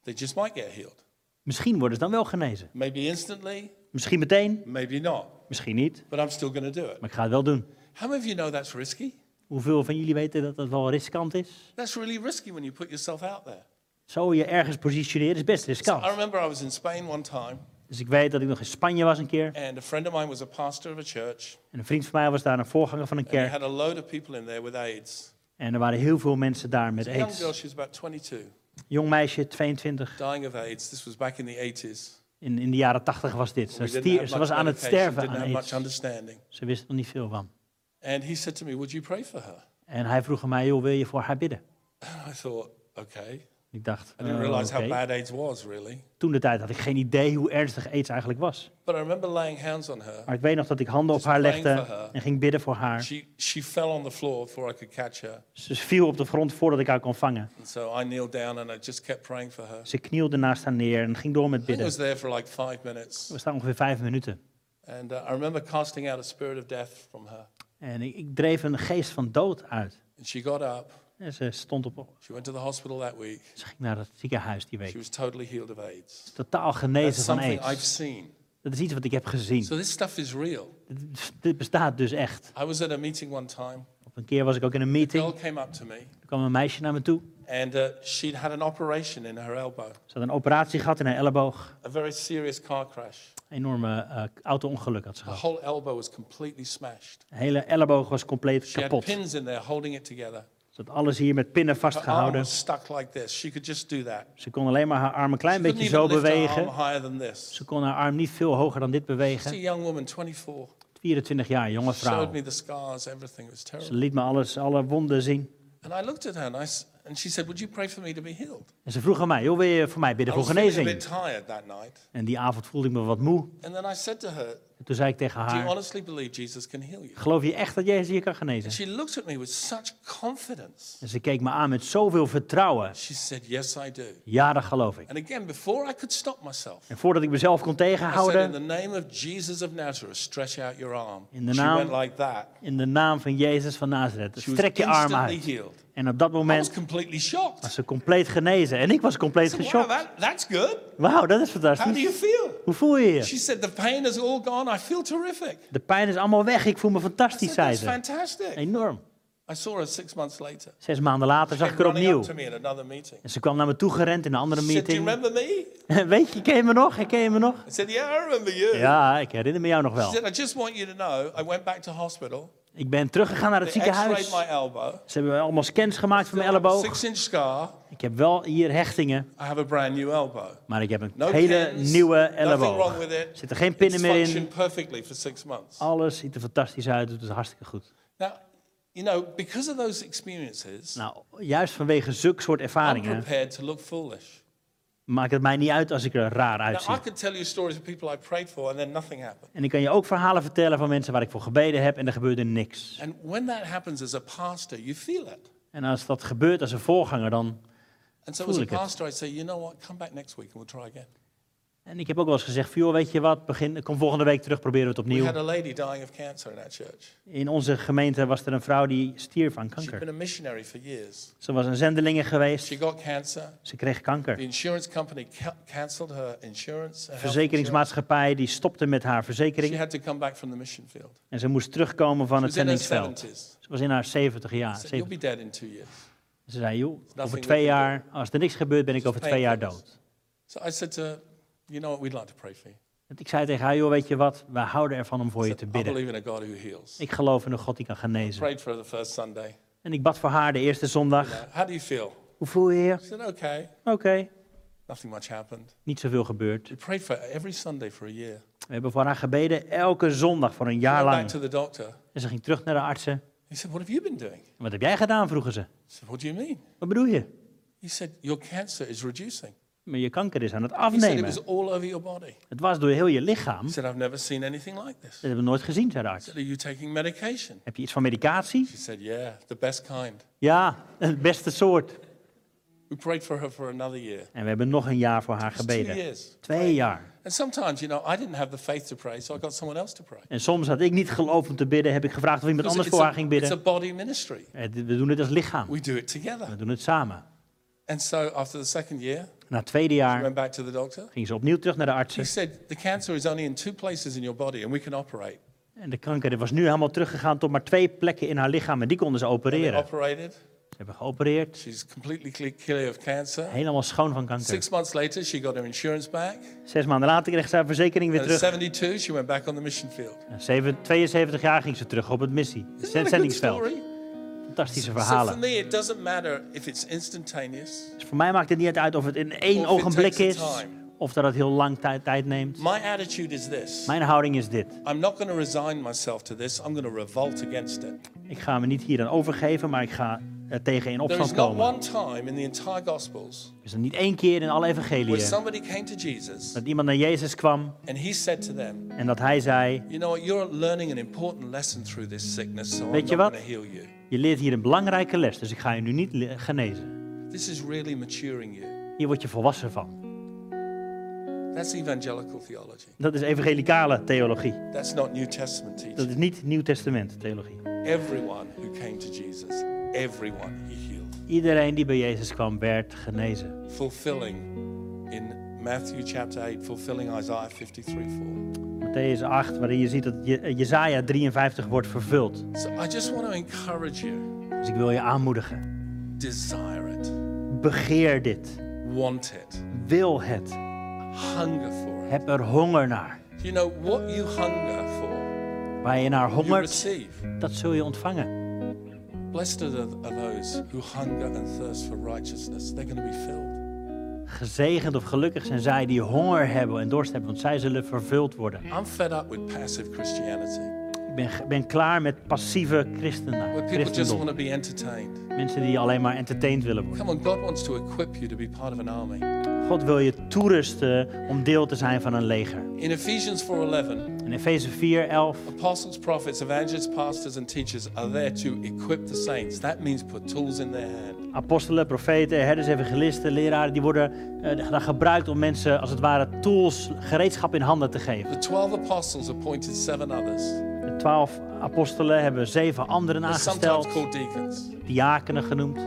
Speaker 2: they just might get healed.
Speaker 1: misschien worden ze dan wel genezen.
Speaker 2: Maybe instantly,
Speaker 1: Misschien meteen,
Speaker 2: maybe not.
Speaker 1: misschien niet,
Speaker 2: But I'm still going to do it.
Speaker 1: maar ik ga het wel doen.
Speaker 2: How many of you know that's risky?
Speaker 1: Hoeveel van jullie weten dat dat wel riskant is?
Speaker 2: That's really risky when you put yourself out there.
Speaker 1: Zo je ergens positioneren is best
Speaker 2: I
Speaker 1: riskant.
Speaker 2: remember I was in Spain one time,
Speaker 1: Dus ik weet dat ik nog in Spanje was een keer.
Speaker 2: and a friend of mine was a pastor of a church.
Speaker 1: En een vriend van mij was daar een voorganger van een
Speaker 2: And he
Speaker 1: kerk.
Speaker 2: had a load of people in there with AIDS.
Speaker 1: En er waren heel veel mensen daar met
Speaker 2: A young girl,
Speaker 1: aids.
Speaker 2: she was about 22,
Speaker 1: Jong meisje, 22.
Speaker 2: dying of AIDS. This was back in the 80s.
Speaker 1: In, in de jaren 80 was dit. Ze,
Speaker 2: We didn't
Speaker 1: stier-
Speaker 2: have
Speaker 1: ze
Speaker 2: much
Speaker 1: was aan het
Speaker 2: medication,
Speaker 1: sterven
Speaker 2: didn't
Speaker 1: aan
Speaker 2: have much
Speaker 1: aids.
Speaker 2: understanding.
Speaker 1: Ze wist er nog niet veel van.
Speaker 2: And he said to me, Would you pray for her?
Speaker 1: En hij vroeg aan mij, joh, wil je voor haar bidden?
Speaker 2: And I thought, Okay.
Speaker 1: Ik dacht,
Speaker 2: I didn't
Speaker 1: eh,
Speaker 2: realize
Speaker 1: oké.
Speaker 2: how bad AIDS was, really.
Speaker 1: toen de tijd had ik geen idee hoe ernstig aids eigenlijk was.
Speaker 2: But I remember laying hands on her.
Speaker 1: Maar ik weet nog dat ik handen op
Speaker 2: Just
Speaker 1: haar
Speaker 2: praying for
Speaker 1: legde
Speaker 2: her.
Speaker 1: en ging bidden voor haar.
Speaker 2: She, she fell on the floor before I could catch her.
Speaker 1: Ze viel op de grond voordat ik haar kon vangen.
Speaker 2: And so I kneeled down and I just kept praying for her.
Speaker 1: Ze knielde naast haar neer en ging door met
Speaker 2: I
Speaker 1: bidden.
Speaker 2: was there for like five minutes.
Speaker 1: We staan ongeveer vijf minuten.
Speaker 2: And uh, I remember casting out a spirit of death from her.
Speaker 1: En ik, ik dreef een geest van dood uit.
Speaker 2: And she got up.
Speaker 1: En ze stond op.
Speaker 2: She went to the hospital that week.
Speaker 1: Ze ging naar het ziekenhuis die
Speaker 2: She
Speaker 1: week.
Speaker 2: was totally healed of AIDS.
Speaker 1: Totaal
Speaker 2: That's
Speaker 1: genezen van
Speaker 2: something I've
Speaker 1: aids.
Speaker 2: seen.
Speaker 1: Dat is iets wat ik heb gezien.
Speaker 2: So this stuff is real.
Speaker 1: Dit- Dit bestaat dus echt.
Speaker 2: I was at a meeting one time.
Speaker 1: Op een keer was ik ook in een
Speaker 2: A girl
Speaker 1: meeting.
Speaker 2: came up to me
Speaker 1: Er kwam een meisje naar me toe.
Speaker 2: and uh, she'd had an operation in her elbow,
Speaker 1: Ze had een operatie gehad in haar elleboog.
Speaker 2: a very serious car crash.
Speaker 1: Een enorme eh auto-ongeluk had ze
Speaker 2: Her
Speaker 1: gehad.
Speaker 2: whole elbow was completely smashed.
Speaker 1: Haar hele elleboog was compleet
Speaker 2: She had
Speaker 1: kapot.
Speaker 2: pins in there holding it together.
Speaker 1: Ze had alles hier met pinnen
Speaker 2: Her arm
Speaker 1: vastgehouden.
Speaker 2: was stuck like this. She could just do that.
Speaker 1: Ze kon alleen maar haar arm een klein
Speaker 2: She
Speaker 1: beetje
Speaker 2: couldn't
Speaker 1: zo
Speaker 2: even lift her arm
Speaker 1: bewegen.
Speaker 2: higher than this.
Speaker 1: Ze kon haar arm niet veel hoger dan dit
Speaker 2: She's a
Speaker 1: bewegen.
Speaker 2: young woman, 24.
Speaker 1: 24 jaar, jonge vrouw.
Speaker 2: Showed me the scars, everything. It was
Speaker 1: Ze
Speaker 2: terrible.
Speaker 1: liet me alles, alle wonden zien.
Speaker 2: And I looked at her and, I s and she said, Would you pray for me to be healed?
Speaker 1: En ze vroeg aan mij, joh, wil je voor mij bidden
Speaker 2: I
Speaker 1: voor
Speaker 2: was feeling a bit
Speaker 1: genezing?
Speaker 2: tired that night.
Speaker 1: En die avond voelde ik me wat moe.
Speaker 2: And then I said to her,
Speaker 1: En En toen zei ik tegen
Speaker 2: Do you
Speaker 1: haar,
Speaker 2: honestly believe Jesus can heal you?
Speaker 1: geloof je echt dat Jezus je kan genezen?
Speaker 2: She looked at me with such confidence.
Speaker 1: En ze keek me aan met zoveel vertrouwen.
Speaker 2: She said, Yes, I do.
Speaker 1: Ja, dat geloof ik.
Speaker 2: And again, before I could stop myself,
Speaker 1: En voordat ik mezelf kon
Speaker 2: I said, In
Speaker 1: tegenhouden,
Speaker 2: the name of Jesus of Nazareth, stretch out your arm.
Speaker 1: In the
Speaker 2: she
Speaker 1: naam-
Speaker 2: went like that.
Speaker 1: in de naam van Jezus van Nazareth,
Speaker 2: She was
Speaker 1: strek je arm
Speaker 2: instantly
Speaker 1: uit.
Speaker 2: healed.
Speaker 1: En op dat
Speaker 2: I was
Speaker 1: moment
Speaker 2: completely shocked.
Speaker 1: was ze compleet genezen. En ik was compleet
Speaker 2: Wow,
Speaker 1: geschokt.
Speaker 2: that, that's good.
Speaker 1: Wauw, dat is
Speaker 2: How do
Speaker 1: fantastisch.
Speaker 2: you feel?
Speaker 1: Hoe voel je je?
Speaker 2: She said, The pain is all gone. I feel terrific.
Speaker 1: De pijn is allemaal weg. Ik voel me
Speaker 2: I
Speaker 1: fantastisch,
Speaker 2: said,
Speaker 1: zei
Speaker 2: That's
Speaker 1: ze.
Speaker 2: fantastic.
Speaker 1: Enorm.
Speaker 2: I saw her six months later.
Speaker 1: Zes maanden later zag ik
Speaker 2: Came
Speaker 1: er
Speaker 2: running
Speaker 1: opnieuw.
Speaker 2: up to me in another meeting.
Speaker 1: En ze kwam naar me toe gerend in een andere
Speaker 2: She said, Do you
Speaker 1: meeting.
Speaker 2: remember me?
Speaker 1: Weet je, ken je me nog? Herken je me nog?
Speaker 2: I said, Yeah, I remember you.
Speaker 1: Ja, ik herinner me jou nog wel.
Speaker 2: She said, I just want you to know I went back to hospital.
Speaker 1: Ik ben teruggegaan naar het
Speaker 2: They x-rayed
Speaker 1: ziekenhuis.
Speaker 2: my elbow.
Speaker 1: Ze hebben allemaal scans gemaakt van mijn elleboog.
Speaker 2: Six inch scar.
Speaker 1: Ik heb wel hier hechtingen,
Speaker 2: I have a brand new elbow.
Speaker 1: maar ik heb een
Speaker 2: No
Speaker 1: hele
Speaker 2: pins,
Speaker 1: nieuwe
Speaker 2: Nothing wrong
Speaker 1: elleboog.
Speaker 2: with
Speaker 1: Er
Speaker 2: it.
Speaker 1: zitten geen
Speaker 2: It's
Speaker 1: pinnen meer in.
Speaker 2: functioned perfectly for six months.
Speaker 1: Alles ziet er fantastisch uit. Het is hartstikke goed.
Speaker 2: Now, you know, because of those experiences,
Speaker 1: Nou, juist vanwege zulk soort
Speaker 2: I'm
Speaker 1: ervaringen
Speaker 2: prepared to look foolish.
Speaker 1: maakt het mij niet uit als ik er raar
Speaker 2: Now, I
Speaker 1: uitzie.
Speaker 2: could tell you stories of people I prayed for and then nothing happened.
Speaker 1: En ik kan je ook verhalen vertellen van mensen waar ik voor gebeden heb en er gebeurde niks.
Speaker 2: And when that happens as a pastor, you feel it.
Speaker 1: En als dat gebeurt als een voorganger dan...
Speaker 2: And so, as
Speaker 1: Voel
Speaker 2: a
Speaker 1: ik het.
Speaker 2: pastor, I say, you know what, come back next week and we'll try again.
Speaker 1: En ik heb ook wel eens gezegd, joh, weet je wat, begin, kom volgende week terug, proberen we het
Speaker 2: We
Speaker 1: opnieuw.
Speaker 2: had a lady dying of cancer in our church.
Speaker 1: In onze gemeente was er een vrouw die stierf aan
Speaker 2: She'd
Speaker 1: kanker.
Speaker 2: been a missionary for years.
Speaker 1: Ze was een zendelingen
Speaker 2: She
Speaker 1: geweest,
Speaker 2: got cancer.
Speaker 1: ze kreeg
Speaker 2: The
Speaker 1: kanker.
Speaker 2: insurance company ca- cancelled her insurance. her health insurance.
Speaker 1: Verzekeringsmaatschappij die stopte met haar
Speaker 2: She
Speaker 1: verzekering
Speaker 2: had to come back from the mission field.
Speaker 1: en ze moest terugkomen van
Speaker 2: She
Speaker 1: het
Speaker 2: was in her
Speaker 1: zendingsveld.
Speaker 2: 70s.
Speaker 1: Ze was in haar 70 jaar.
Speaker 2: Said, You'll
Speaker 1: 70.
Speaker 2: be dead in two years.
Speaker 1: Ze zei, joh, over
Speaker 2: nothing
Speaker 1: twee
Speaker 2: we can
Speaker 1: jaar, als er niks gebeurt, ben ik over twee jaar
Speaker 2: painkillers.
Speaker 1: dood.
Speaker 2: So I said to her, You know what, we'd like to pray for you.
Speaker 1: En ik zei tegen haar, joh, weet je wat, wij houden ervan om voor je te
Speaker 2: Said, I
Speaker 1: bidden.
Speaker 2: believe in a God who heals.
Speaker 1: Ik geloof in een God die kan genezen.
Speaker 2: Prayed for her the first Sunday.
Speaker 1: En ik bad voor haar de eerste zondag.
Speaker 2: Uh, How do you feel?
Speaker 1: Hoe voel je je?
Speaker 2: She said, Okay.
Speaker 1: Oké,
Speaker 2: Nothing much happened.
Speaker 1: niet zoveel gebeurd.
Speaker 2: We prayed for her every Sunday for a year.
Speaker 1: We hebben voor haar gebeden elke zondag voor een
Speaker 2: She
Speaker 1: jaar
Speaker 2: went back
Speaker 1: lang.
Speaker 2: to the doctor.
Speaker 1: En ze ging terug naar de artsen.
Speaker 2: He said, What have you been doing?
Speaker 1: En Wat heb jij gedaan, vroegen ze.
Speaker 2: I said, What do you mean?
Speaker 1: Wat bedoel je?
Speaker 2: He said, Your cancer is reducing.
Speaker 1: Maar je kanker is aan het
Speaker 2: He said, It was
Speaker 1: afnemen.
Speaker 2: all over your body.
Speaker 1: Het was door heel je lichaam.
Speaker 2: He
Speaker 1: Dat
Speaker 2: said, I've never seen anything like this.
Speaker 1: hebben we nooit gezien, zei de arts.
Speaker 2: said, Are you taking medication?
Speaker 1: Heb je iets van medicatie?
Speaker 2: She said, Yeah, the best kind.
Speaker 1: Ja, het beste soort.
Speaker 2: We prayed for her for another year.
Speaker 1: En we hebben nog een jaar voor haar
Speaker 2: It's two
Speaker 1: gebeden.
Speaker 2: years.
Speaker 1: Twee jaar.
Speaker 2: And sometimes, you know, I didn't have the faith to pray, so I got someone else to pray.
Speaker 1: En soms had ik niet geloof om te bidden, heb ik gevraagd of iemand
Speaker 2: Because
Speaker 1: anders
Speaker 2: it's
Speaker 1: voor haar
Speaker 2: a,
Speaker 1: ging
Speaker 2: it's a
Speaker 1: bidden.
Speaker 2: body ministry.
Speaker 1: Eh, d- We doen het als lichaam.
Speaker 2: We do it
Speaker 1: We
Speaker 2: together.
Speaker 1: doen het samen.
Speaker 2: And so after the second year,
Speaker 1: Na het tweede
Speaker 2: I
Speaker 1: jaar
Speaker 2: went back to the doctor.
Speaker 1: ging ze opnieuw terug naar de
Speaker 2: He
Speaker 1: artsen.
Speaker 2: said, The cancer is only in two places in your body, and we can operate.
Speaker 1: En de kanker was nu helemaal teruggegaan tot maar twee plekken in haar lichaam. En die konden ze
Speaker 2: And they
Speaker 1: opereren.
Speaker 2: operated.
Speaker 1: Ze hebben geopereerd.
Speaker 2: She's completely cle- clear of cancer.
Speaker 1: Helemaal schoon van kanker.
Speaker 2: Six months later, she got her insurance back.
Speaker 1: Zes maanden later kreeg ze haar verzekering weer
Speaker 2: And at
Speaker 1: terug.
Speaker 2: 72, she went back on the mission field.
Speaker 1: En zeven- 72 jaar ging ze terug op het missie.
Speaker 2: Isn't that a good
Speaker 1: Zendingsveld.
Speaker 2: story?
Speaker 1: Fantastische
Speaker 2: So for
Speaker 1: verhalen.
Speaker 2: me, it doesn't matter if it's instantaneous.
Speaker 1: Dus voor mij maakt het niet uit of het in één
Speaker 2: Of it
Speaker 1: ogenblik
Speaker 2: takes its
Speaker 1: is.
Speaker 2: time.
Speaker 1: Of dat het heel lang tijd, tijd neemt.
Speaker 2: My attitude is this
Speaker 1: Mijn houding is dit.
Speaker 2: I'm not going to resign myself to this, I'm going to revolt against it.
Speaker 1: Ik ga me niet hier aan overgeven, maar ik ga er tegen in
Speaker 2: There is
Speaker 1: opstand
Speaker 2: not
Speaker 1: komen.
Speaker 2: one time in the entire Gospels
Speaker 1: Er is niet één keer in alle
Speaker 2: where
Speaker 1: evangeliën
Speaker 2: somebody came to Jesus
Speaker 1: dat iemand naar Jezus kwam
Speaker 2: and he said to them,
Speaker 1: en dat hij zei...
Speaker 2: You know what, you're learning an important lesson through this sickness, so I'm
Speaker 1: Weet
Speaker 2: not
Speaker 1: je
Speaker 2: going
Speaker 1: wat?
Speaker 2: to heal you.
Speaker 1: Je leert hier een belangrijke les, dus ik ga je nu niet le- genezen.
Speaker 2: This is really maturing you.
Speaker 1: Hier word je volwassen van.
Speaker 2: That's evangelical theology.
Speaker 1: Dat is evangelicale theologie.
Speaker 2: That's not New Testament
Speaker 1: Dat
Speaker 2: teaching.
Speaker 1: is niet Nieuw Testament theologie.
Speaker 2: Everyone who came to Jesus, everyone he healed.
Speaker 1: Iedereen die bij Jezus kwam, werd genezen.
Speaker 2: Fulfilling in Matthew chapter 8, fulfilling Isaiah 53 4.
Speaker 1: Matthäus 8, waarin je ziet dat Je- Jezaja 53 wordt vervuld.
Speaker 2: So I just want to encourage you
Speaker 1: Dus ik wil je aanmoedigen.
Speaker 2: desire it,
Speaker 1: Begeer dit.
Speaker 2: want it,
Speaker 1: Wil het.
Speaker 2: hunger for it.
Speaker 1: Heb er honger naar.
Speaker 2: You know, what you hunger for,
Speaker 1: Waar je naar
Speaker 2: you
Speaker 1: hongert,
Speaker 2: receive.
Speaker 1: dat zul je ontvangen.
Speaker 2: Blessed are the- are those who hunger and thirst for righteousness. They're going to be filled.
Speaker 1: Gezegend of gelukkig zijn zij die honger hebben en dorst hebben, want zij zullen vervuld worden.
Speaker 2: I'm fed up with passive Christianity.
Speaker 1: Ik Ik ben, ben klaar met passieve christenen.
Speaker 2: where people just want
Speaker 1: christendom.
Speaker 2: to be entertained.
Speaker 1: Mensen die alleen maar entertained willen worden.
Speaker 2: Come on, God wants to equip you to be part of an army.
Speaker 1: God wil je toerusten om deel te zijn van een leger.
Speaker 2: In Ephesians 4:11,
Speaker 1: In Efeze 4, 11.
Speaker 2: apostles, prophets, evangelists, pastors and teachers are there to equip the saints. That means put tools in their hand.
Speaker 1: Apostelen, profeten, herders, evangelisten, leraren. Die worden eh, daar gebruikt om mensen als het ware tools, gereedschap in handen te geven.
Speaker 2: The 12 apostles appointed 7 others,
Speaker 1: De twaalf apostelen hebben zeven anderen
Speaker 2: sometimes
Speaker 1: aangesteld.
Speaker 2: called deacons.
Speaker 1: Diakenen genoemd.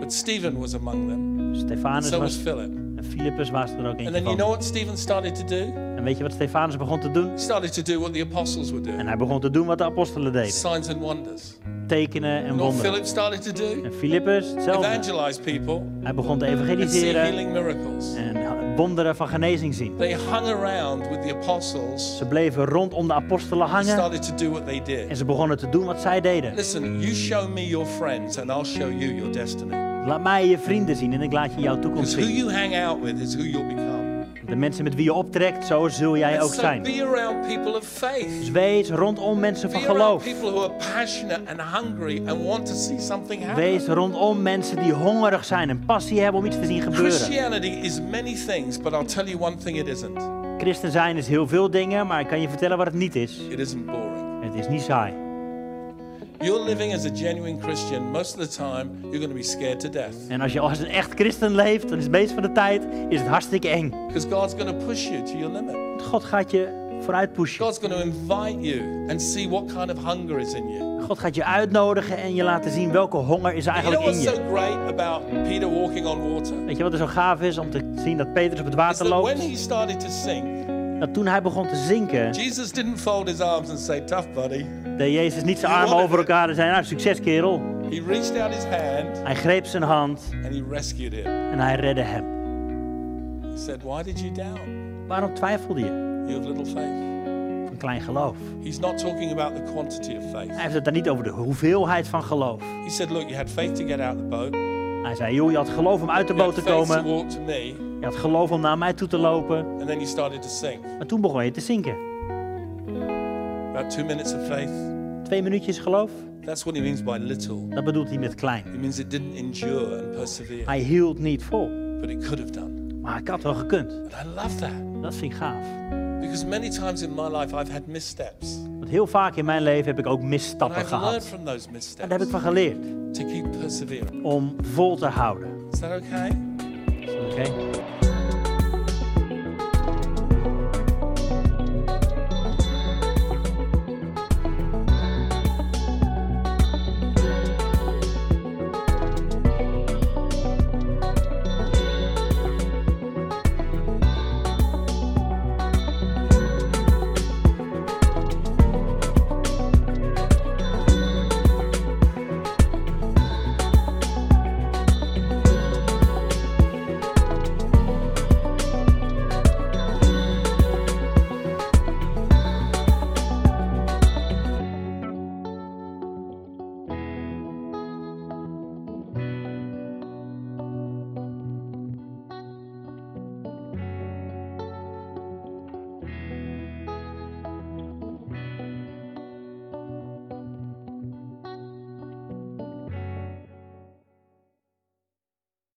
Speaker 2: But Stephen was among them.
Speaker 1: Stefanus
Speaker 2: So was
Speaker 1: was
Speaker 2: Philip.
Speaker 1: en Philippus was er ook
Speaker 2: And
Speaker 1: eentje
Speaker 2: then you know
Speaker 1: van.
Speaker 2: what Stephen started to do?
Speaker 1: En weet je wat Stefanus begon te doen?
Speaker 2: He started to do what the apostles were doing.
Speaker 1: En hij begon te doen wat de apostelen deden.
Speaker 2: Signs and wonders.
Speaker 1: Tekenen en
Speaker 2: You know what
Speaker 1: wonderen.
Speaker 2: Philip started to do?
Speaker 1: En Philippus, hetzelfde.
Speaker 2: Evangelize people
Speaker 1: Hij begon te
Speaker 2: and see
Speaker 1: evangeliseren
Speaker 2: healing miracles.
Speaker 1: en wonderen van genezing zien.
Speaker 2: They hung around with the apostles
Speaker 1: Ze bleven rondom de apostelen
Speaker 2: and
Speaker 1: hangen
Speaker 2: started to do what they
Speaker 1: en
Speaker 2: did.
Speaker 1: ze begonnen te doen wat zij deden.
Speaker 2: Listen, you show me your friends and I'll show you your destiny.
Speaker 1: Laat mij je vrienden zien en ik laat je jouw toekomst
Speaker 2: Because who
Speaker 1: zien.
Speaker 2: you hang out with is who you'll become.
Speaker 1: De mensen met wie je optrekt, zo zul jij ook
Speaker 2: So
Speaker 1: zijn.
Speaker 2: be around people of faith.
Speaker 1: Dus wees rondom mensen van
Speaker 2: Be
Speaker 1: geloof.
Speaker 2: around people who are passionate and hungry and want to see something
Speaker 1: Wees
Speaker 2: happen.
Speaker 1: rondom mensen die hongerig zijn en passie hebben om iets te zien gebeuren.
Speaker 2: Christianity is many things, but I'll tell you one thing it isn't.
Speaker 1: Christen zijn is heel veel dingen, maar ik kan je vertellen wat het niet is.
Speaker 2: It isn't boring.
Speaker 1: Het is niet saai.
Speaker 2: You're living as a genuine Christian, most of the time you're going to be scared to death
Speaker 1: En als je als een echt christen leeft, dan is het meest van de tijd is het hartstikke eng.
Speaker 2: because God's going to push you to your limit.
Speaker 1: God gaat je vooruit pushen.
Speaker 2: God's going to invite you and see what kind of hunger is in you.
Speaker 1: God gaat je uitnodigen en je laten zien welke honger is er
Speaker 2: You know
Speaker 1: eigenlijk in
Speaker 2: what's so
Speaker 1: je.
Speaker 2: great about Peter walking on water?
Speaker 1: Weet je wat er zo gaaf is om te zien dat Petrus op het
Speaker 2: Is
Speaker 1: water
Speaker 2: that when
Speaker 1: loopt?
Speaker 2: he started to sink,
Speaker 1: Dat toen hij begon te zinken,
Speaker 2: Jesus didn't fold his arms and say, Tough, buddy.
Speaker 1: deed Jezus niet zijn armen over elkaar en zei, nou succes kerel.
Speaker 2: He reached out his hand
Speaker 1: Hij greep zijn hand
Speaker 2: and he rescued him.
Speaker 1: en hij redde hem.
Speaker 2: He said, Why did you doubt?
Speaker 1: Waarom twijfelde je?
Speaker 2: You have little faith.
Speaker 1: Van klein geloof.
Speaker 2: He's not talking about the quantity of faith.
Speaker 1: Hij heeft het dan niet over de hoeveelheid van geloof.
Speaker 2: He said, Look, you had faith to get out of the boat, you
Speaker 1: Hij zei, joh, je had geloof om uit de
Speaker 2: had
Speaker 1: boot te
Speaker 2: faith to
Speaker 1: komen.
Speaker 2: walk to me,
Speaker 1: Je had geloof om naar mij toe te lopen.
Speaker 2: and then you started to sink.
Speaker 1: Maar toen begon je te zinken.
Speaker 2: About two minutes of faith.
Speaker 1: Twee minuutjes geloof,
Speaker 2: That's what he means by little.
Speaker 1: dat bedoelt hij met klein.
Speaker 2: It means it didn't endure and persevere,
Speaker 1: Hij hield niet vol.
Speaker 2: but it could have done.
Speaker 1: Maar ik had wel gekund.
Speaker 2: And I love that
Speaker 1: Dat vind ik gaaf.
Speaker 2: because many times in my life I've had missteps.
Speaker 1: Want heel vaak in mijn leven heb ik ook
Speaker 2: And
Speaker 1: misstappen
Speaker 2: I've learned
Speaker 1: gehad.
Speaker 2: from those
Speaker 1: En
Speaker 2: missteps
Speaker 1: daar heb ik van geleerd.
Speaker 2: to keep persevering.
Speaker 1: Om vol te houden.
Speaker 2: Is that okay?
Speaker 1: Oké?